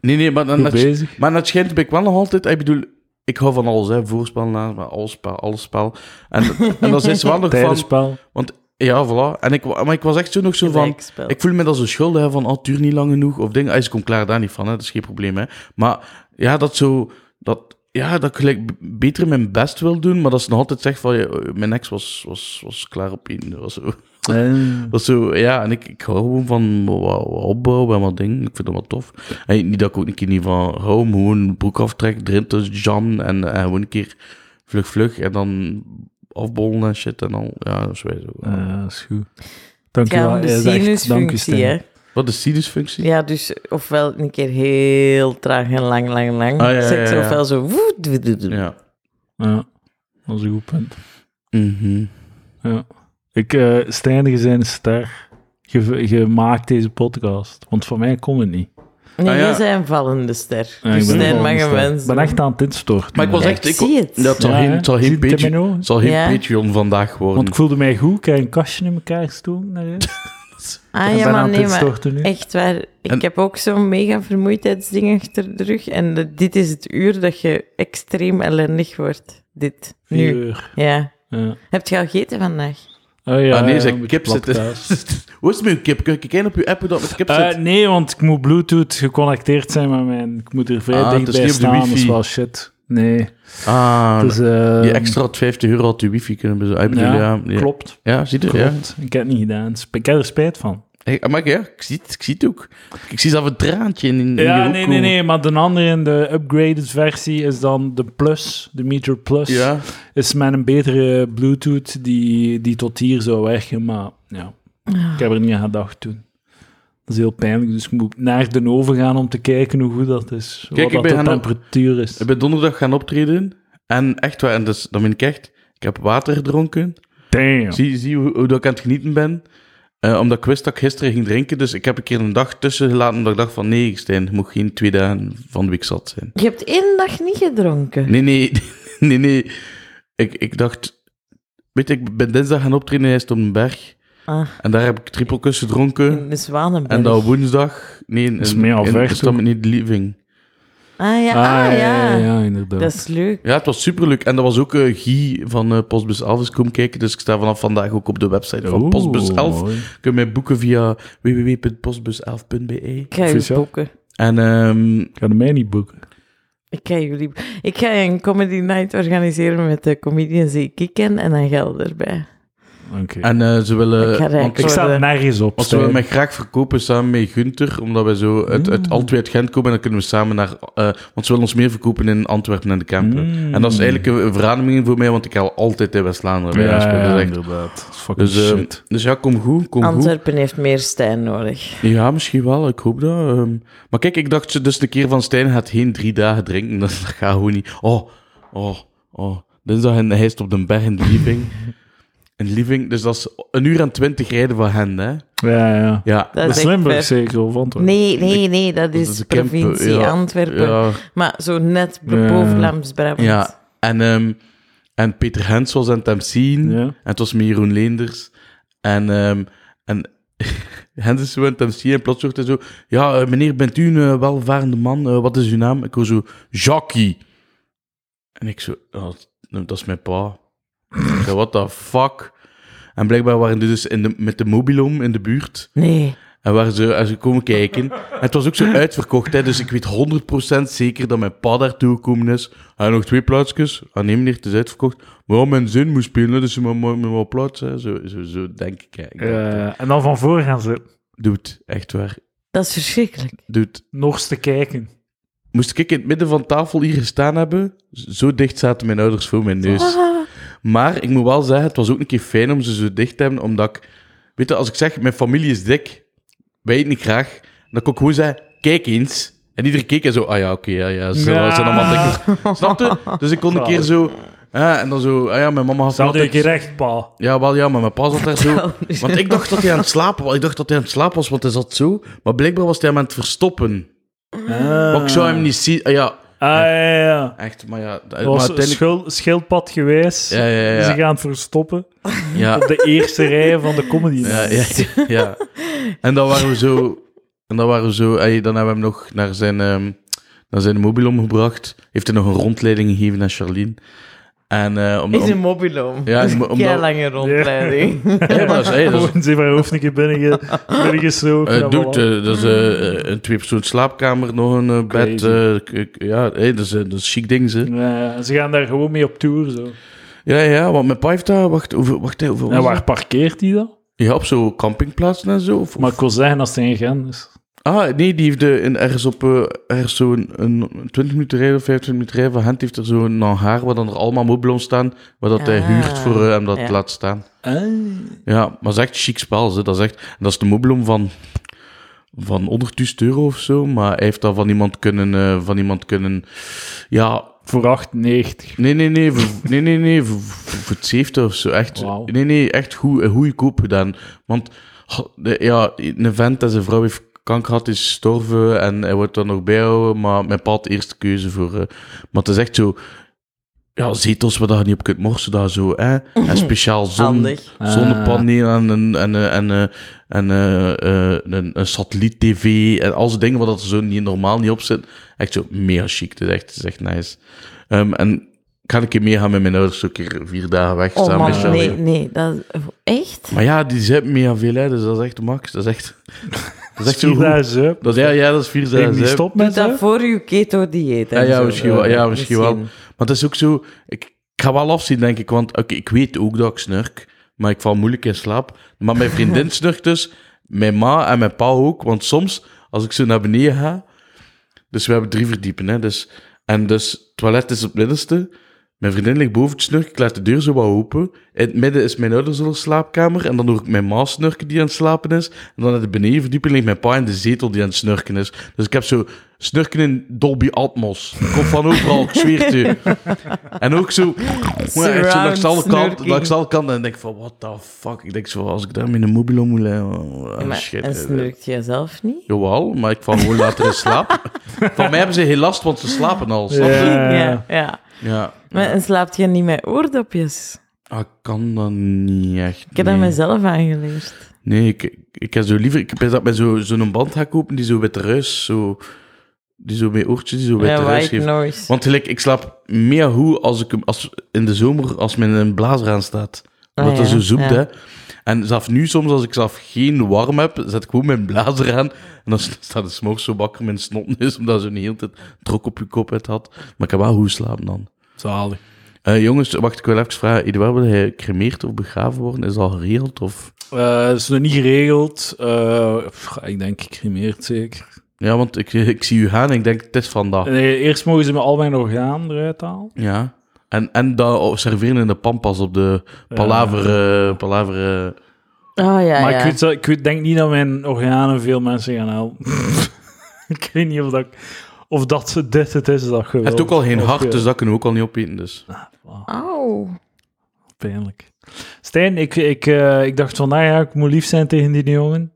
Nee, nee, maar dan... Goed Dat, bezig. maar dat schijnt ben ik wel nog altijd... Ik bedoel, ik hou van alles, hè. Voorspel, na, maar alles spel, alles spel. En, en dat is wel *laughs* nog van... Tijdensspel. Want ja, voilà. En ik, wa- maar ik was echt zo nog zo van... Gelijkspel. Ik voel me dan zo schuldig, hè, van, oh, het duurt niet lang genoeg, of dingen. Ah, ze komt klaar daar niet van, hè, dat is geen probleem, hè. Maar ja, dat zo... Dat, ja, dat ik gelijk b- beter mijn best wil doen, maar dat ze nog altijd zegt van, ja, eh, mijn ex was, was, was klaar op één. Dat was zo, *laughs* En- was zo ja, en ik, ik hou gewoon van wat, wat opbouwen en wat dingen. Ik vind dat wel tof. En niet dat ik ook een keer niet van hou, maar gewoon broek aftrek, erin tussen jam en, en gewoon een keer vlug, vlug, en dan afbollen en shit en al. Ja, dat is wij zo. Eh, Ja, is goed. Dank Het u gaat om wel. de Eh, is echt- Dank u, sinusfunctie, hè. Stijn. Wat is sinusfunctie? Ja, dus ofwel een keer heel traag en lang, lang, lang. Ah, ja, ja, Seks, ja, ja. ofwel zo... woe, doe, doe, doe. Ja. Ja, dat is een goed punt. Mhm. Ja. Ik, eh Stijn, je bent een ster. Je, je maakt deze podcast. Want voor mij kon het niet. Nee, Ah, ja. jij bent een vallende ster. Ja, dus ik ben Stijn een mag een ster. wens Ik ben doen. echt aan het instorten. Maar ik was Ja, echt... ik Ik, zie het. Ja, het zal Ja, geen, hè? het zal Zie geen, het in Patreon- mijn ogen? het zal geen Ja. Patreon vandaag worden. Want ik voelde mij goed. Ik heb een kastje in elkaar gestoken. *laughs* Naar huis. Ah ik ja, ben maar aan het nee, maar instorten nu. echt waar. Ik En- heb ook zo'n mega vermoeidheidsding achter de rug. En de- dit is het uur dat je extreem ellendig wordt. Dit. Vier Nu. uur. Ja. Ja. Heb je al gegeten vandaag? Oh ja, ah nee, ja, zeg, een beetje kip *laughs* zit... plapkaas. Hoe is het met uw kip? Kun je kijken op uw app hoe dat met kip Eh, zit? nee, want ik moet Bluetooth geconnecteerd zijn met mijn. Ik moet er vrij Ah, het is dichtbij niet op de staan. Dat is wifi. wel shit. Nee. Ah, Dus, eh, je extra had 50 euro had je wifi kunnen bezorgen. Ah, ik bedoel, Ja, ja, ja. Klopt. Ja, zie je? Ja. Klopt. Ik heb het niet gedaan. Sp- Ik heb er spijt van. Hey, ah, maar ja, ik zie het, ik zie het ook. Ik zie zelf een traantje in, in je Ja, hoek nee, nee, komen. nee. Maar de andere in de upgraded versie is dan de Plus, de Meter Plus. Ja, Is met een betere Bluetooth die, die tot hier zou werken. Maar ja, ik heb er niet aan gedacht toen. Dat is heel pijnlijk. Dus ik moet naar de oven gaan om te kijken hoe goed dat is. Kijk, ik wat ben dat de gaan- temperatuur is. ik ben donderdag gaan optreden. En echt waar, en dus, dan ben ik echt... Ik heb water gedronken. Damn. Zie, zie hoe, hoe dat ik aan het genieten ben. Eh, omdat ik wist dat ik gisteren ging drinken. Dus ik heb een keer een dag tussen gelaten. Omdat ik dacht van nee, Stijn, je moet geen twee dagen van de week zat zijn. Je hebt één dag niet gedronken. Nee, nee, *laughs* nee, nee. Ik, ik dacht. Weet je, ik ben dinsdag gaan optreden in IJsselstein op een berg. Ah. En daar heb ik trippelkus gedronken. In de Zwanenberg. En dan woensdag. Nee, in, Dat is meer al in, ver, in Stammen niet Living. Ah ja, ah, Ah, ja, ja. ja, inderdaad. Dat is leuk. Ja, het was superleuk. En dat was ook eh Guy van eh, Postbus 11 eens komen kijken. Dus ik sta vanaf vandaag ook op de website van Oeh, Postbus 11. Oh, mooi. Kun je mij boeken via www.postbus11.be. Ik ga je Officieel? boeken. En ehm, Ik ga de mij niet boeken. Ik ga jullie... Ik ga een comedy night organiseren met de comedians die ik ken en dan geld erbij. Oké. en eh, ze willen. Ik ga rijk want Ik ik- sta worden. nergens op. want ze willen Stijn. mij graag verkopen samen met Gunther, omdat wij zo uit, Mm. uit Antwerpen uit Gent komen en dan kunnen we samen naar... eh, want ze willen ons meer verkopen in Antwerpen en de Kampen. Mm. En dat is eigenlijk een een verademing voor mij, want ik ga altijd in West-Vlaanderen bij Ja, aanspelen. ja, Dat is echt- inderdaad. Dat is fucking Dus, eh, shit. dus ja, kom goed, kom goed. Antwerpen heeft meer Stijn nodig. Ja, misschien wel, ik hoop dat. ehm. Maar kijk, ik *laughs* dacht dus de keer van Stijn gaat geen drie dagen drinken, dat, dat gaat gewoon niet. Oh, oh, oh. dinsdag en hij is op de berg in de *laughs* living. In living, dus dat is een uur en twintig rijden van hen, hè? Ja, ja. Ja. Dat Dat is echt ver. Limburg zeker, of Antwerpen? Nee, nee, nee, dat Dat is, is een camper, provincie ja. Antwerpen. Ja, Maar zo net Ja. boven Vlaams-Brabant. ja. En, ehm, en Peter Hens was aan het hem zien. Ja. En het was met Jeroen Leenders. En, ehm en *laughs* Hens is zo aan het hem zien en plots wordt hij zo... Ja, eh, meneer, bent u een eh, welvarende man? Eh, wat is uw naam? Ik hoor zo... Jackie. En ik zo... "Ja, dat- dat is mijn pa. Ik zei, what the fuck? En blijkbaar waren die dus in de, met de mobilom in de buurt. Nee. En waar ze, en ze komen kijken. En het was ook zo uitverkocht, hè, dus ik weet 100% zeker dat mijn pa daartoe gekomen is. Hij nog twee plaatsjes. Ah nee meneer, het is uitverkocht. Maar ja, mijn zin moest spelen, dus ze maar maar- maar wel plaats. Hè. Zo, zo, zo denk ik. Hè. Ik dacht, Eh, en dan van voor gaan ze Dude, echt waar. Dat is verschrikkelijk. Dude. nog eens te kijken. Moest ik in het midden van tafel hier gestaan hebben, zo dicht zaten mijn ouders voor mijn neus. Ah, Dus- Maar ik moet wel zeggen, het was ook een keer fijn om ze zo dicht te hebben, omdat ik... Weet je, als ik zeg, mijn familie is dik, wij eten niet graag, dan kon ik gewoon zeggen, kijk eens. En iedereen keek en zo, ah ja, oké, ja, ja, ze Ja. ze zijn allemaal *laughs* dikker. Snap je? Dus ik kon een keer zo... Ja, en dan zo, ah ja, mijn mama had Zou je altijd... gerecht, pa? Ja, wel ja, maar mijn pa zat daar zo... Want ik dacht dat hij aan het slapen was. Ik dacht dat hij aan het slapen was, want hij zat zo. Maar blijkbaar was hij hem aan het verstoppen. Maar ik zou hem niet zien. Ah ja, Ah, ja, ja, ja. echt, maar ja... Maar Dat was uiteindelijk... schil- schildpad geweest. Ja, ja, ja. Ze gaan het verstoppen Ja, op de *laughs* eerste rij van de comedy. Ja, ja, ja. *laughs* En dan waren we zo... En dan waren we zo... ey, dan hebben we hem nog naar zijn, ehm naar zijn mobiel omgebracht. Heeft hij nog een rondleiding gegeven aan Charlene. En eh, om, is een om, mobilom. Ja, Ja, dat is om- een omdat- lange rondleiding. ja, maar dat is- ey, dat is- Gewoon ze mijn hoofd een keer binnen, ge- binnen gestoken. *laughs* eh, ja, doet, voilà. eh, dat is eh, een tweepersoons slaapkamer, nog een eh, bed. Crazy. eh, k- k- ja, ey, dat is, eh, dat is chic ding, ze. Ja, ze gaan daar gewoon mee op tour. Zo. Ja, ja, want mijn pa heeft daar... Wacht, over, wacht, hey, over, En waar parkeert hij dan? Ja, op zo'n campingplaatsen en zo. Of, of- Maar ik wil zeggen, als hij in Gent is. Ah, nee, die heeft eh, in, ergens op eh, ergens zo'n een 20 minuten rijden of 25 minuten rijden van Gent heeft er zo'n hangar waar dan er allemaal mobiloms staan, waar dat hij Ah, huurt voor eh, hem dat ja. laat staan. Ah. Ja, maar dat is echt chic spel. Ze. Dat, is echt, dat is de mobilom van, van 100.000 euro of zo, maar hij heeft dat van iemand kunnen... eh, van iemand kunnen ja, Voor 98. nee, nee, nee, voor, nee, nee, nee, voor, voor- voor het 70 of zo. Echt, Wauw. Nee, nee, echt goed, goedkoop gedaan. Want goh, de- ja, een vent en zijn vrouw heeft kanker gehad, is gestorven en hij wordt dan nog bijhouden, maar mijn pa had de eerste keuze voor... eh, maar het is echt zo... Ja, zetels waar dat je niet op kunt morsen, daar zo, hè. En speciaal zon, Handig. Ah. zonnepaneel en, een- en, eh, en, eh, en, eh, eh, een, een satelliet-tv en al zo'n dingen waar dat zo niet, normaal niet op zit. Echt zo mega chic, het is echt, het is echt nice. Ehm, en ik ga een keer meegaan met mijn ouders, zo een keer vier dagen weg Oh samen met man, Charlie. nee, nee. Dat, echt? Maar ja, die zijn mega veel, hè, dus dat is echt de max. Dat is echt, dat is echt zo goed. 4000 zuip. Dat, is- ja, ja, dat is 4000. Neem die hè. stop Doe met dat zuip. voor uw keto-dieet. en Ja, ja, zo. misschien wel, ja, Eh, misschien wel. Maar het is ook zo, ik, ik ga wel afzien, denk ik, want oké, ik weet ook dat ik snurk, maar ik val moeilijk in slaap. Maar mijn vriendin snurkt dus, mijn ma en mijn pa ook, want soms, als ik zo naar beneden ga, dus we hebben drie verdiepen, hè, dus, en dus het toilet is op het middenste, mijn vriendin ligt boven het snurken, ik laat de deur zo wat open, in het midden is mijn ouders al slaapkamer, en dan hoor ik mijn ma snurken die aan het slapen is, en dan in de benedenverdieping ligt mijn pa in de zetel die aan het snurken is. Dus ik heb zo snurken in Dolby Atmos. Komt van overal, ik zweer het u. En ook zo, maar echt zo langs alle Surround kanten, snurking. langs alle kanten, en ik denk van, what the fuck. Ik denk zo, als ik daar met een mobiel om moet leggen, oh, Ja, oh, maar, shit. en snurkt jij zelf niet? Jawel, maar ik val gewoon later in *laughs* slaap. van mij hebben ze heel last, want ze slapen al. snap je? Ja. Eh. ja, ja. Ja. Maar en slaapt jij niet met oordopjes? Ah, ik kan dat niet echt. Ik heb nee. dat mezelf aangeleerd. Nee, ik, ik heb zo liever... Ik ben dat met zo- zo'n band ga kopen die zo witte ruis... Zo, die zo met oortjes die zo witte Ja, ruis white geeft. noise. Want gelijk, ik slaap meer goed als ik hem, als, in de zomer als men een blazer aan staat. Omdat Ah, dat ja, zo zoekt, ja. hè. En zelfs nu soms, als ik zelf geen warm heb, zet ik gewoon mijn blazer aan. En dan staat de smog zo bakker mijn snotneus, omdat ze een hele tijd druk op je kop uit had. Maar ik heb wel goed slapen dan. Zalig. Eh, jongens, wacht, ik wil even vragen. Eduard, wil hij cremeerd of begraven worden? Is dat al geregeld? Of... Eh, is nog niet geregeld. Eh, pff, ik denk, ik cremeert zeker. Ja, want ik, eh, ik zie u gaan en ik denk, het is vandaag. Nee, eerst mogen ze me al mijn orgaan eruit halen. Ja. En, en dat serveren in de pampas op de palaver... eh, palaver eh, Oh ja, maar ja. ik, weet, *laughs* dat- ik weet- denk niet dat mijn organen veel mensen gaan helpen. ik weet niet of dat ik, of dat dit het is dat je Hij heeft wilt. ook al geen Of hart, je- dus dat kunnen we ook al niet opeten. Dus. Wauw, Auw. pijnlijk. Stijn, ik, ik, eh, ik dacht van, nou ja, ik moet lief zijn tegen die jongen.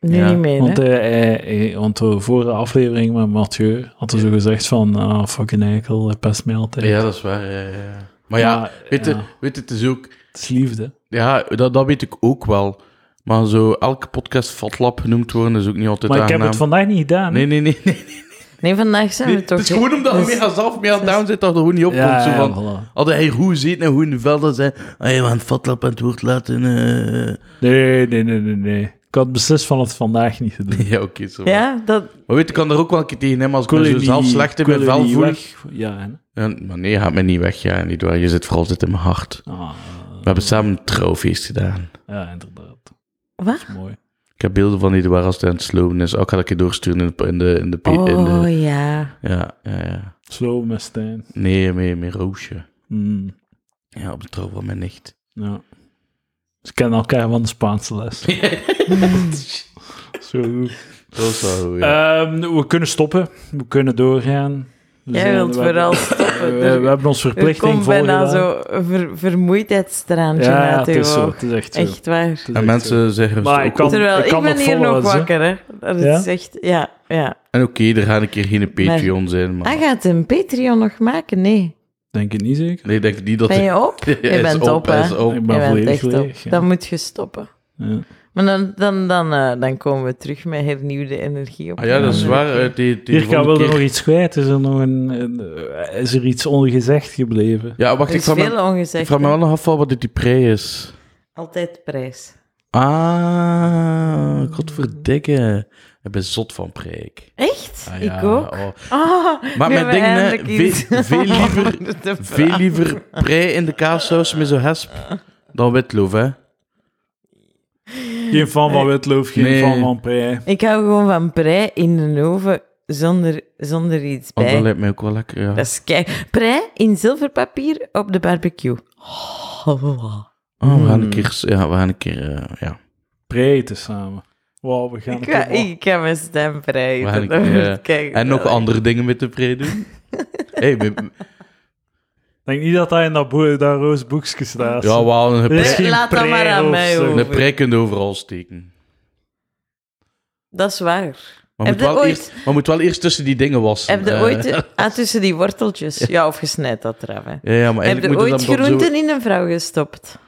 Nu Ja, niet meer, Want, hè? eh, hij- hij- want de vorige aflevering met Mathieu had hij zo gezegd van, ah, fucking eikel, hij pest mij altijd. Ja, dat is waar. Ja, ja, ja. Maar ja, weet, je, ja, weet je, het is ook... het is liefde. Ja, dat, dat weet ik ook wel. Maar zo elke podcast fatlap genoemd worden is ook niet altijd Maar ik heb aangenaam. het vandaag niet gedaan. Nee, nee, nee. *laughs* nee. Nee, vandaag zijn we nee. toch... Het is gewoon omdat hij dus- meer zelf meer aan dus- down zit, dat er gewoon niet op komt. Zo van, voilà. Hadden hij hoe zit en hoe in de velden zijn. Ah, je aan het fatlap aan het woord laten. *laughs* eh. nee, nee, nee, nee, nee. Ik had beslist van het vandaag niet te *laughs* doen. Ja, oké. zo. Ja, dat... Maar weet je, ik kan er ook wel een keer tegen hem als ik wil me zo je zelf niet- slecht in ik wil mijn je vel niet voel. weg- Ja, en- Ja, maar nee, je gaat mij niet weg. Ja, niet waar. Je zit vooral zit in mijn hart. ah, We hebben samen een trouwfeest gedaan. ja, inderdaad. Wat? Dat is mooi. Ik heb beelden van Edouard als hij aan het slopen is. Ook ga ik je doorsturen in de... In de, in de, in de, Oh, ja. ja, ja, ja. Slow met Stijn. Nee, meer, meer roosje. Mm, Ja, op de trouw van mijn nicht. ja. Ze kennen elkaar van de Spaanse les. Zo goed. Dat is wel goed, ja. Ehm, we kunnen stoppen. We kunnen doorgaan. We Jij zijn- wilt Dus we vooral hebben- stoppen. Eh, dus We, we Er, hebben ons er verplichting komt volgedaan. bijna zo'n ver, vermoeidheidsstraantje ja, ja, uit het is uw zo. oog. Het is echt zo. Echt waar. Het is en echt mensen zo. zeggen... Maar ook ik kan- Terwijl, Eh, ik, kan ben nog hier nog followers, hè? wakker, hè. Dat Ja? is echt... Ja, ja. En oké, er gaan een keer geen Patreon zijn, maar... Hij gaat een Patreon nog maken? Nee. Denk het niet zeker? Oh. Nee, ik denk niet dat... Ben het- je *laughs* op? Je Hij is bent op, hij hè. is op. Ik Je ben bent volledig echt op. leeg. ja. Dan moet je stoppen. Ja. Maar dan, dan, dan, eh, dan komen we terug met hernieuwde energie op. Ah ja, dat is waar. Uit die, die Jirka volgende wilde keer- nog iets kwijt. Is er nog een, een- is er iets ongezegd gebleven? Ja, wacht, Er ik is vraag, me, veel ongezegd. ik vraag me wel nog af van wat dit die prei is. Altijd prijs. Ah, godverdikke. Ik ben zot van preek. Echt? Ah, ja, ik *laughs* ook. oh. Ah, Maar mijn nu hebben we ding, hè, eindelijk veel- *laughs* iets *laughs* veel liever- om te Veel praten. liever prei in de kaassaus met zo'n hesp dan witloof, hè. Geen fan van witloof, geen Nee. fan van prei. Ik hou gewoon van prei in een oven zonder, zonder iets Want bij. dat lijkt mij ook wel lekker, ja. Dat is kei... Prei in zilverpapier op de barbecue. Oh. Oh, we gaan een Hmm. keer... Ja, we gaan een keer... eh, ja. Prei te samen. Wauw, we gaan Ik ga, het helemaal- ik ga mijn stem prei. Maar ik, Dat wordt eh, kei En nog geweldig. andere dingen met de prei *laughs* doen. hey, we- Ik denk niet dat hij in dat, boe- dat roos boekje staat. ja, wel, een Er is Eh, prei, geen laat dat prei maar aan of mij zo. over. een prei kun je overal steken. Dat is waar. Maar Heb moet, je wel ooit- eerst, maar moet wel eerst tussen die dingen wassen. Heb je eh. *laughs* ooit... Ah, tussen die worteltjes. Ja, of gesnijd dat eraf, hè. Ja, ja, maar Heb eigenlijk je moet je ooit dan dan zo... groenten in een vrouw gestopt?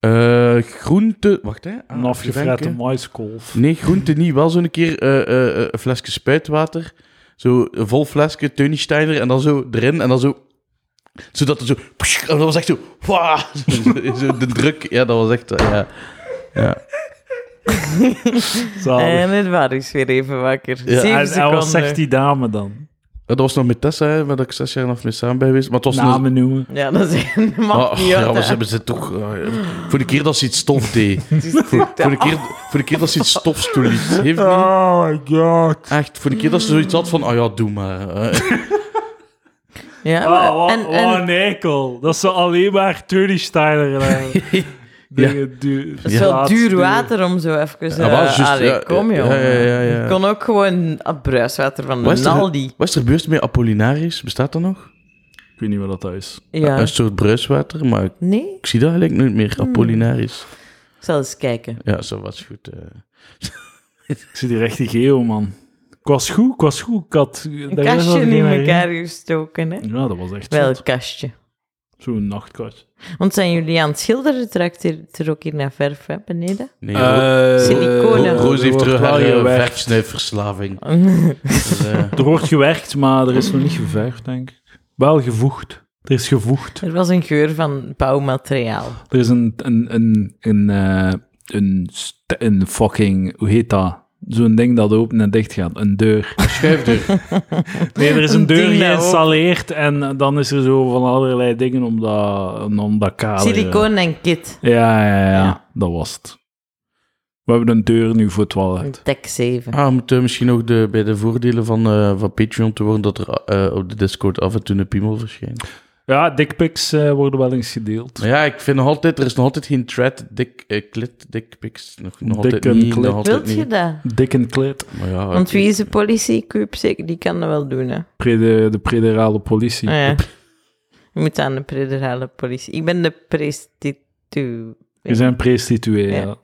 Eh, groente... Wacht, hè. Ah, Een afgevrette bedenken. maiskolf. Nee, groente niet. Wel zo'n keer eh, eh, eh, een flesje spuitwater. Zo een vol flesje, Steiner en dan zo erin. En dan zo... Zodat het zo... En dat was echt zo... wah, *laughs* zo, zo de druk. Ja, dat was echt... eh, Ja. ja. Zalig. En het Eh, waar is weer even wakker. Ah, Ja, En, Zeven en seconden. wat zegt Eh, die dame dan? Ja, Dat was nog met Tessa, hè, waar ik zes jaar en een half mee samen bij geweest. Maar het was nog... Namen noemen. Ja, dat is *laughs* helemaal Maar Nou, niet uit, Oh, ja, we hè. hebben ze toch... eh, voor de keer dat ze iets stof *laughs* deed. voor, voor, de keer, voor de keer dat ze iets stofs toeliet. Heeft niet... Oh my god. Echt, voor de keer dat ze zoiets had van... Oh ja, doe maar. eh. Ja, maar- Oh, wat, en, wat en, een eikel. Dat ze alleen maar Tony Steiner *laughs* eh, dingen du- het is wel laat duur doen. water om zo even... Ja, eh, Ah, wel, juist, allee, ja, kom, ja, joh. ja, ja, ja. Ik kon ook gewoon ah, bruiswater van Wat de is er- Naldi. Wat is er gebeurd met Apollinaris? Bestaat dat nog? Ik weet niet wat dat is. Ja. Hmm. Een soort bruiswater, maar ik- Nee? ik zie dat eigenlijk nooit meer. Apollinaris. Ik zal eens kijken. Ja, zo was goed. eh. Ik zie die rechte geo, man. Ik was goed, ik was goed. Ik had... Een kastje in elkaar gestoken, hè. Ja, dat was echt Wel, zot. een kastje. Zo'n nachtkast. Want zijn jullie aan het schilderen? Trekt er, er ook hier naar verf hè, beneden? Nee, Eh, Siliconen. Ro- eh, Roos heeft terug haar eh, gewerkt. *laughs* verfsnijverslaving. Dus, eh, Er wordt gewerkt, maar er is nog niet geverfd, denk ik. Wel gevoegd. Er is gevoegd. *laughs* er was een geur van bouwmateriaal. Er is een... Een, een, een, eh, een, st- een fucking... Hoe heet dat? Zo'n ding dat open en dicht gaat. Een deur. schuifdeur. *laughs* Nee, er is een Een deur ding dat geïnstalleerd en dan is er zo van allerlei dingen om dat, om dat kader. Siliconen en kit. Ja, ja, ja, Ja. Dat was het. We hebben een deur nu voor het Een toilet. Tech *laughs* 7. Ah, we moeten misschien ook de, eh, bij de voordelen van, eh, van Patreon te worden dat er eh, op de Discord af en toe een piemel verschijnt. Ja, dickpics eh, worden wel eens gedeeld. Ja, ik vind nog altijd, er is nog altijd geen thread, dik, eh, klit, dikpiks. Nog, nog Dik altijd en niet, klit. nog altijd Wilt je niet. dat? Dik en kleed. Maar ja, Want wie is de politiecup zeker? Die kan dat wel doen, hè? Prede, de prederale politie. Ah, ja. Je moet aan de federale politie. Ik ben de prestitu. Je zijn prestituee, Ja. ja.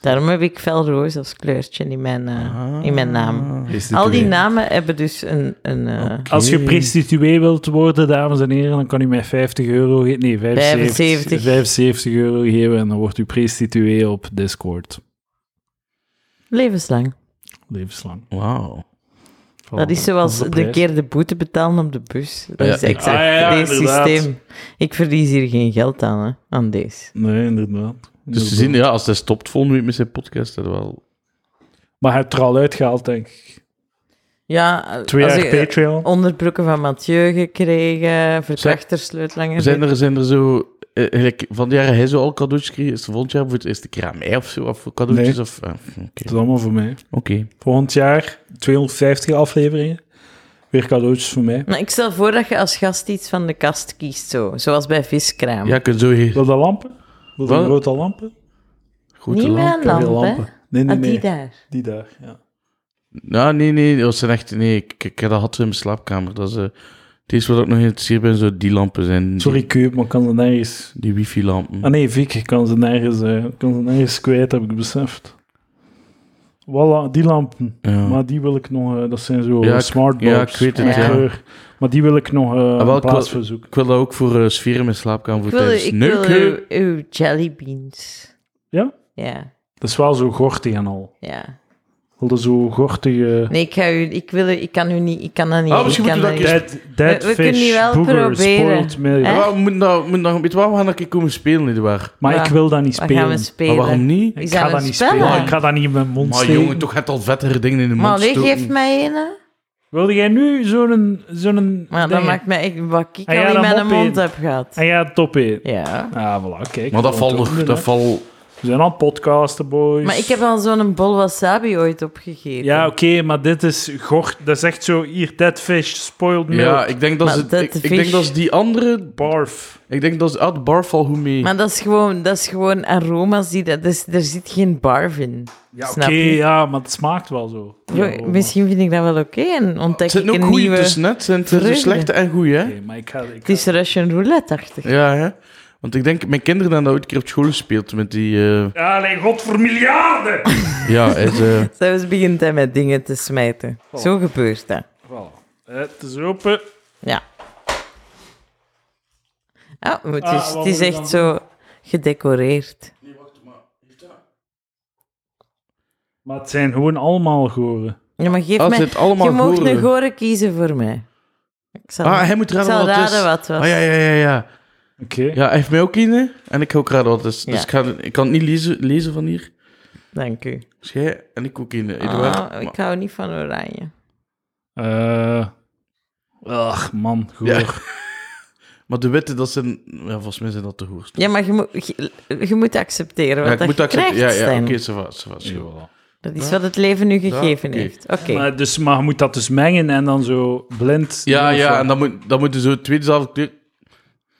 Daarom heb ik felroos als kleurtje in mijn, eh, in mijn naam. Ah. Prestituee. Al die namen hebben dus een... een eh, Oké. Als je prostituee wilt worden, dames en heren, dan kan u mij 50 euro ge- Nee, 75, 75. 75 euro geven en dan wordt u prostituee op Discord. Levenslang. Levenslang. Wauw. Voilà. Dat is zoals Dat de, prijs. keer de boete betalen op de bus. Dat Oh, Ja. is exact Ah, ja, dit inderdaad. systeem. Ik verlies hier geen geld aan, hè, aan deze. Nee, inderdaad. Dus Inderdaad. te zien, ja, als hij stopt volgende week met zijn podcast, dat wel. Maar hij hebt er al uitgehaald, denk ik. Ja, eh, Twee als jaar ik, eh, Patreon. onderbroeken van Mathieu gekregen, verkrachtersleutelhanger. Zijn er, zijn er zo. eh, eigenlijk, van de jaren hij zo al cadeautjes kreeg, is er volgend jaar voor het eerste keer aan mij of zo? Of cadeautjes? Nee. Of, ah, oké. Dat is allemaal voor mij. Oké. Volgend jaar 250 afleveringen. Weer cadeautjes voor mij. Nou, ik stel voor dat je als gast iets van de kast kiest, zo. zoals bij viskraam. Ja, je kunt zo hier. Wil dat lampen? Wil dat Wat? grote lampen? Goed, Niet meer aan Veel lamp, hè? lampen. Nee, nee, Ah, nee. die Die daar. daar. ja. Nou, nee, nee, dat zijn echt. Nee, ik, ik dat had ze in mijn slaapkamer. Dat is. eh, het eerste wat ik nog geïnteresseerd ben, zo die lampen zijn. die- Sorry, Keub, maar ik kan ze nergens... Die, wifi-lampen. Ah nee, Vic, ik kan ze nergens, eh, ik kan ze nergens kwijt, heb ik beseft. Voilà, die lampen. Ja. Maar die wil ik nog... eh, dat zijn zo Ja, ik- smartbulbs. ja, ik weet het, met ja. kleur. Maar die wil ik nog eh Ah, wel, een ik wil- plaats voor zoeken. Ik wil dat ook voor eh, sfeer in mijn slaapkamer voor Ik wil, tijdens ik wil neuken. uw, uw jellybeans. Ja? Ja, Dat is wel zo gortig en al. ja. Wil dat zo gortige... Nee, ik, ga u, ik, wil, u- ik kan u niet... Ik kan dat niet. Ah, misschien ik kan moeten we dat Dead, dead We- we kunnen die fish, wel booger, proberen. spoiled milk. Hè? Ja, we moeten nog, we moeten nog, weet je waar, we gaan een keer komen spelen, nietwaar? Maar Ja. ik wil dat niet niet. Maar gaan we spelen. Maar spelen. waarom niet? Is Ik dat ga dat een niet spel? spelen. Ik ga dat niet in mijn mond Maar steken. jongen, toch gaat al vettere dingen in de Maar mond allee, stoken. geef mij een, hè. Wilde jij nu zo'n... zo'n Maar dat ding? maakt mij echt... Wat ik Ah, ja, al in dat mijn mopje. mond heb gehad. En jij top in. Ja. Ah, voilà, kijk. Maar dat we valt doen nog, het, dat hè. valt... We zijn al podcasten, Dus- boys. Maar ik heb al zo'n bol wasabi ooit opgegeten. Ja, oké, maar dit is gort. Dat is echt zo, hier, dead fish, spoiled milk, Ja, ik denk dat Maar ze... dat Ik, ik vis- denk dat ze die andere... barf. Ik denk dat ze... Ah, de bar valt goed mee. Maar dat is gewoon, dat is gewoon aroma's die... Dat, dus, er zit geen barf in. Ja, oké, Snap je? ja, maar het smaakt wel zo. Jo, Ja, misschien vind ik dat wel oké en ontdek Het zijn ik ook een goeie nieuwe... tussen net. Het zijn tussen vreugde. slechte en goeie, hè? oké, maar ik ga... Ik Het is Russian roulette-achtig. Ja, hè? Want ik denk, mijn kinderen hebben dat ooit een keer op school gespeeld met die... eh, Ja, alleen god voor miljarden! Ja, het, eh, *laughs* Zelfs begint hij met dingen te smijten. Oh. Zo gebeurt dat. voilà. Eh, Het is open. Ja. Ah, maar het Ah, is, wat het is moet ik echt dan zo gedecoreerd. Maar het zijn gewoon allemaal goren. Ja, maar geef Ah, het mij... zit allemaal je mag goren. een gore kiezen voor mij. Ik zal, Ah, hij moet ik raden zal wat het is. raden wat het was. Ah, ja, ja, ja, ja. Oké. Ja, hij heeft mij ook in, hè? En ik ga ook raden wat het is. Dus Ja. ik, ga, ik kan het niet lezen, lezen van hier. Dank u. Dus jij en ik ook in, Eduard. Ah, ik hou niet van oranje. Eh, ach, man, goor. Ja. Maar de witte, dat zijn... Ja, volgens mij zijn dat de hoerst. Ja, maar je moet, je, je moet accepteren wat ik dat moet je dat accepteren. krijgt, Ja, ja, Stijn. oké, ça va, ça va, ça va. Jawel. Dat is wat het leven nu gegeven oké. heeft. Oké. Maar, dus, maar je moet dat dus mengen en dan zo blind. Ja, doen of ja, zo. en dan moet, dan moet je zo twee dezelfde kleur...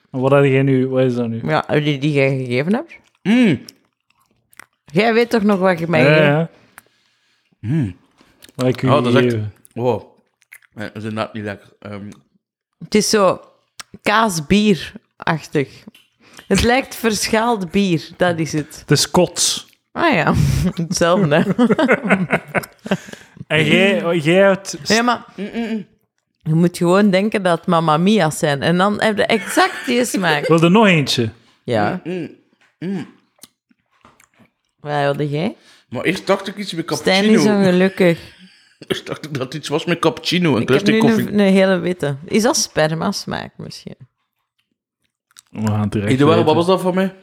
Maar Wat had jij nu? Wat is dat nu? Ja, die, die jij gegeven hebt. Mm. Jij weet toch nog wat je mij gegeven Ja, hebt? ja. Wat ik u Hmm. Oh, dat is echt- gegeven. Wow. Ja, dat is inderdaad niet lekker. Ehm, Het is zo kaasbier-achtig. Het lijkt verschaald bier, dat is het. Het is kots. Ah ja, *laughs* hetzelfde. hè. *laughs* En Hmm. jij, oh, jij hebt... Ja, maar Mm, je moet gewoon denken dat het Mamma Mia's zijn. En dan heb je exact *laughs* die smaak. Wil er nog eentje? Ja. Mm, Wat wilde jij? maar eerst dacht ik iets met Stijn is cappuccino. ongelukkig. Eerst dacht ik dat het iets was met cappuccino. Een Ik heb klein nu koffie. een, een hele witte. Is dat sperma-smaak misschien? We gaan het direct Eduard, wat weten. was dat voor mij?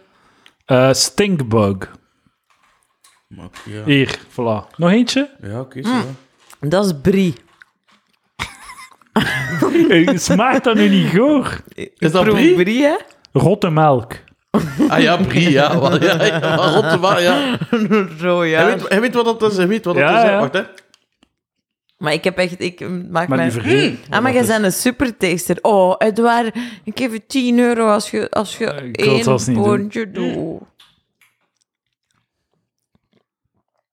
Eh, stinkbug. Maar, ja, ja Hier, voilà. Nog eentje? oké, ça Mm. va. Dat is brie. *laughs* Eh, Smaakt dat nu niet goor? Is dat Proef brie? brie hè? Rotte melk. *laughs* Ah ja, Brie, ja. Wel, ja, ja, maar rotte waar, ja. Zo, ja. Hij, weet, hij weet wat dat is, hij weet wat dat Ja, is. hè. ja. Wacht, hè. Maar ik heb echt... Ik maak Maar mijn... liever geen. Ah, maar jij bent een supertaster. Oh, Edouard, ik geef je 10 euro als je, als je Eh, ik wil het één zelfs niet doen. boontje doet.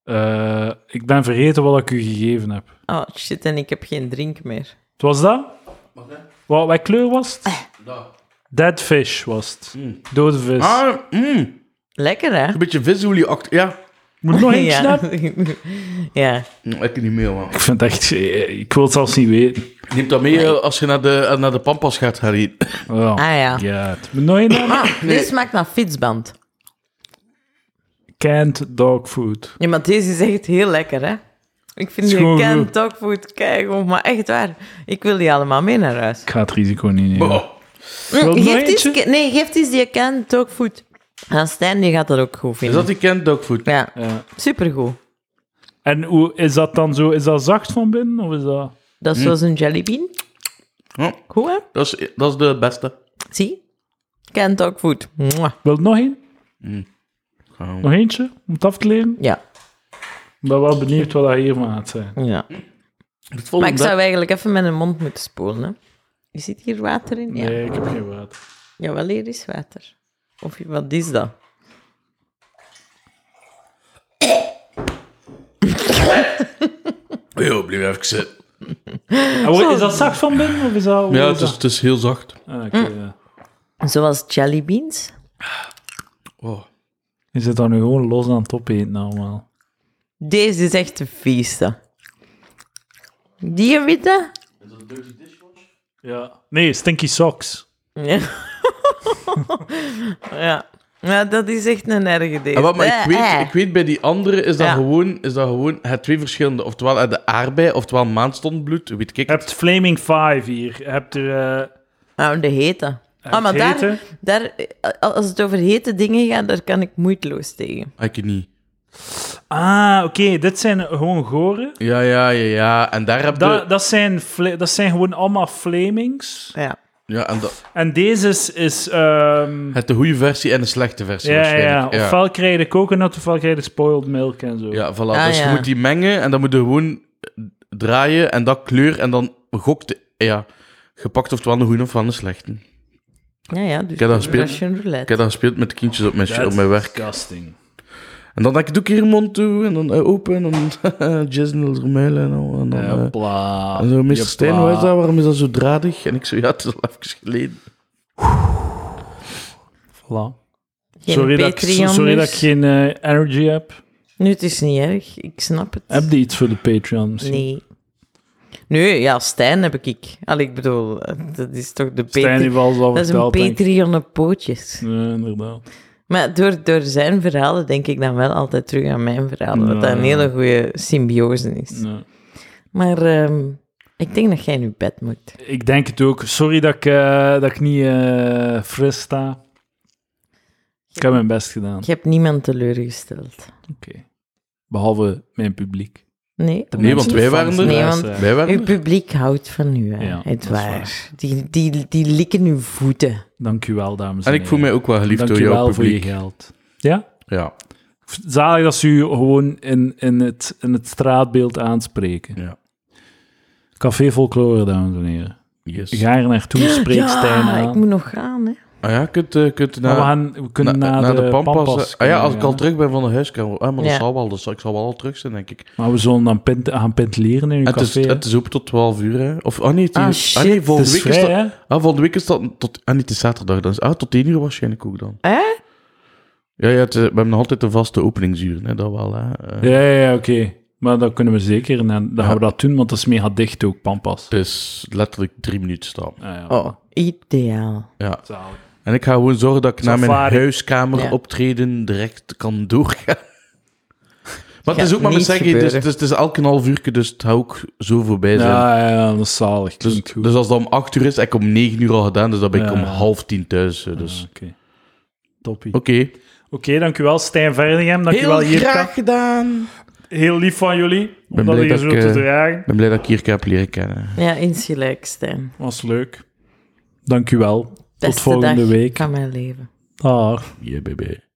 Eh, ik ben vergeten wat ik u gegeven heb. Oh, shit, en ik heb geen drink meer. Het was dat? Wat, wat kleur was Eh. het? Dead fish was het. Hmm. Dode vis. Ah, mm, Lekker, hè? een beetje visolie act. Ja, Moet *laughs* nog eentje ja. hebben? *laughs* ja. Hm, ik niet meer, man. Ik vind het echt... eh, Ik wil het zelfs niet weten. Neem dat mee eh, als je naar de, naar de Pampas gaat, Harry. Ja. Ah, ja. Ah, het moet nog één hebben. Dit smaakt naar fietsband. Canned dog food. Ja, maar deze is echt heel lekker, hè? Ik vind Is die gewoon canned goed. dogfood keigoed, oh, maar echt waar. Ik wil die allemaal mee naar huis. Ik ga het risico niet nemen. Oh, Wil je nog Geef eens, eentje? ke- nee, geef eens die canned dogfood. Aan Stijn, die gaat dat ook goed is vinden. dat die kent dogfood? Ja, Ja. supergoed. En hoe is dat dan zo? Is dat zacht van binnen? Of is dat... Dat is zoals een jellybean. Ja. Goed, hè? Oh, Dat, is, dat is de beste. Zie? Canned dogfood. Mwah. Wil je nog één? Gaan we. Nog eentje? Om het af te leren? Ja, Ik ben wel benieuwd wat dat hiervan gaat zijn. ja. Het Maar volgende. ik zou eigenlijk even met een mond moeten spoelen, hè? Je ziet hier water in? Ja. Nee, ik heb geen water. Jawel, hier is water. Of wat is dat? Yo, blijf even zitten. En wat- is dat zacht van binnen? Of is dat... hoe Ja, is het is, dat? het is heel zacht. Ah, oké, ja. Zoals jellybeans? Oh. Je zit dan nu gewoon los aan het opeten allemaal. Deze is echt de vieste. Die witte? Ja. Nee, stinky socks. Ja. *laughs* ja. Ja, dat is echt een erge deze. En wat, Ah, maar ik Eh, eh. weet, ik weet bij die andere is dat, Ja. gewoon, is dat gewoon het twee verschillende. Oftewel uit de aardbei, oftewel maanstondbloed. Weet ik. Je hebt Flaming Five hier. Je hebt er... eh, Ah, de hete. Ah, maar het daar, Eh, hete. daar, eh, als het over hete dingen gaat, daar kan ik moeiteloos tegen. Ik niet. Ah, oké. Dit zijn gewoon goren. Ja, ja, ja, ja. En daar heb je... Dat, dat, zijn, fla- dat zijn gewoon allemaal Flamings. Ja. Ja, en dat, En deze is... is ehm, het de goede versie en de slechte versie ja, ja, ja. waarschijnlijk. Ja, Ofwel krijg je de coconut, ofwel krijg je de spoiled milk en zo. Ja, voilà. Ah, dus ja. je moet die mengen en dan moet je gewoon draaien en dat kleur en dan gokt... Ja, gepakt oftewel een goede ofwel een slechte. Ja, ja. Dus Ik heb dat gespeeld. Russian Ik roulette. heb dat gespeeld met de kindjes op mijn, That's op mijn werk. disgusting. En dan denk ik, doe ik hier een mond toe en dan eh, open en dan *laughs* eh, jazz in de muil en al. En dan... eh, Jepla. en zo, meester Jepla. Stijn, hoe is dat? Waarom is dat zo dradig? En ik zo, ja, het is al even geleden. Voilà. Geen Sorry, dat ik, Patreon sorry dat ik dus. geen eh, energy heb. Nu, het is niet erg. Ik snap het. Heb je iets voor de Patreon misschien? Nee. Nee, ja, Stijn heb ik. ik. Allee, ik bedoel, eh, dat is toch de Stijn Patreon. heeft alles al Dat is een verteld, denk ik. Patreon op pootjes. Ja, inderdaad. Maar door, door zijn verhalen denk ik dan wel altijd terug aan mijn verhalen. Wat Ja. een hele goede symbiose is. Ja. Maar ehm, ik denk dat jij nu bed moet. Ik denk het ook. Sorry dat ik, eh, dat ik niet eh, fris sta. Ik heb mijn best gedaan. Je hebt niemand teleurgesteld. Oké. Behalve mijn publiek. Nee? De mensen Nee, want die wij fans waren er. zijn. Nee, want- Eh, Wij waren Uw publiek houdt van u, hè? Ja, dat het is waar. waar. Die, die, die likken uw voeten. Dank u wel, dames en En heren. ik voel mij ook wel geliefd Dank door u jouw wel voor je publiek. geld. Ja? Ja, Zalig dat ze u gewoon in, in, het, in het straatbeeld aanspreken. ja. Café Folklore, dames en heren. Yes. Ga er naartoe, spreek Stijn ja, aan. ik moet nog gaan, hè? Ah ja, kunt, eh, kunt Maar naar, we, gaan, we kunnen na- naar, naar de, Pampas. Pampas. eh, ah ja, als kunnen ik gaan. al terug ben van de huiskamer. Ah, maar Ja. dat zal wel. Dat zal, ik zal wel al terug zijn, denk ik. Maar we zullen dan pint, gaan ventileren in uw Het is, café. het is open tot 12 uur, hè. Of, ah nee, het Ah, is- ah, nee shit. Het volgende is week is vrij, dat... hè? Ah, volgende week is dat tot... Ah, niet, het is zaterdag dan. Ah, tot 10 uur waarschijnlijk ook dan. Hè? Ja, ja, het, eh, we hebben nog altijd de vaste openingsuren, hè. Dat wel, hè. Eh, Ja, ja, ja, oké. Maar dan kunnen we zeker, en dan Ja. gaan we dat doen, want dat is mega dicht ook, Pampas. Het is letterlijk drie minuten stap. Ah, ja. Oh, ideaal. Ja. Zalig. En ik ga gewoon zorgen dat ik naar mijn Safari. huiskamer Ja. optreden direct kan doorgaan. *laughs* Maar het Gaat is ook maar met niet zeggen, het is, gebeuren. het is, het is elke half uur, dus het gaat ook zo voorbij zijn. Ja, ja, ja, dat is zalig. Dus, Klinkt goed. dus als dat om 8 uur is, heb ik om 9 uur al gedaan, dus dan ben ik Ja. om half tien thuis. eh, Dus. Ah, Oké. Toppie. Oké. Oké, dankjewel Stijn Verdegem. Dankjewel Jirka. gedaan. Heel lief van jullie om dat blij hier dat zo ik, te eh, dragen. Ik ben blij dat ik Jirka heb leren kennen. Ja, insgelijks, Stijn. Was leuk. Dankjewel. Beste volgende dag week. van mijn leven. Dag. Yeah, baby.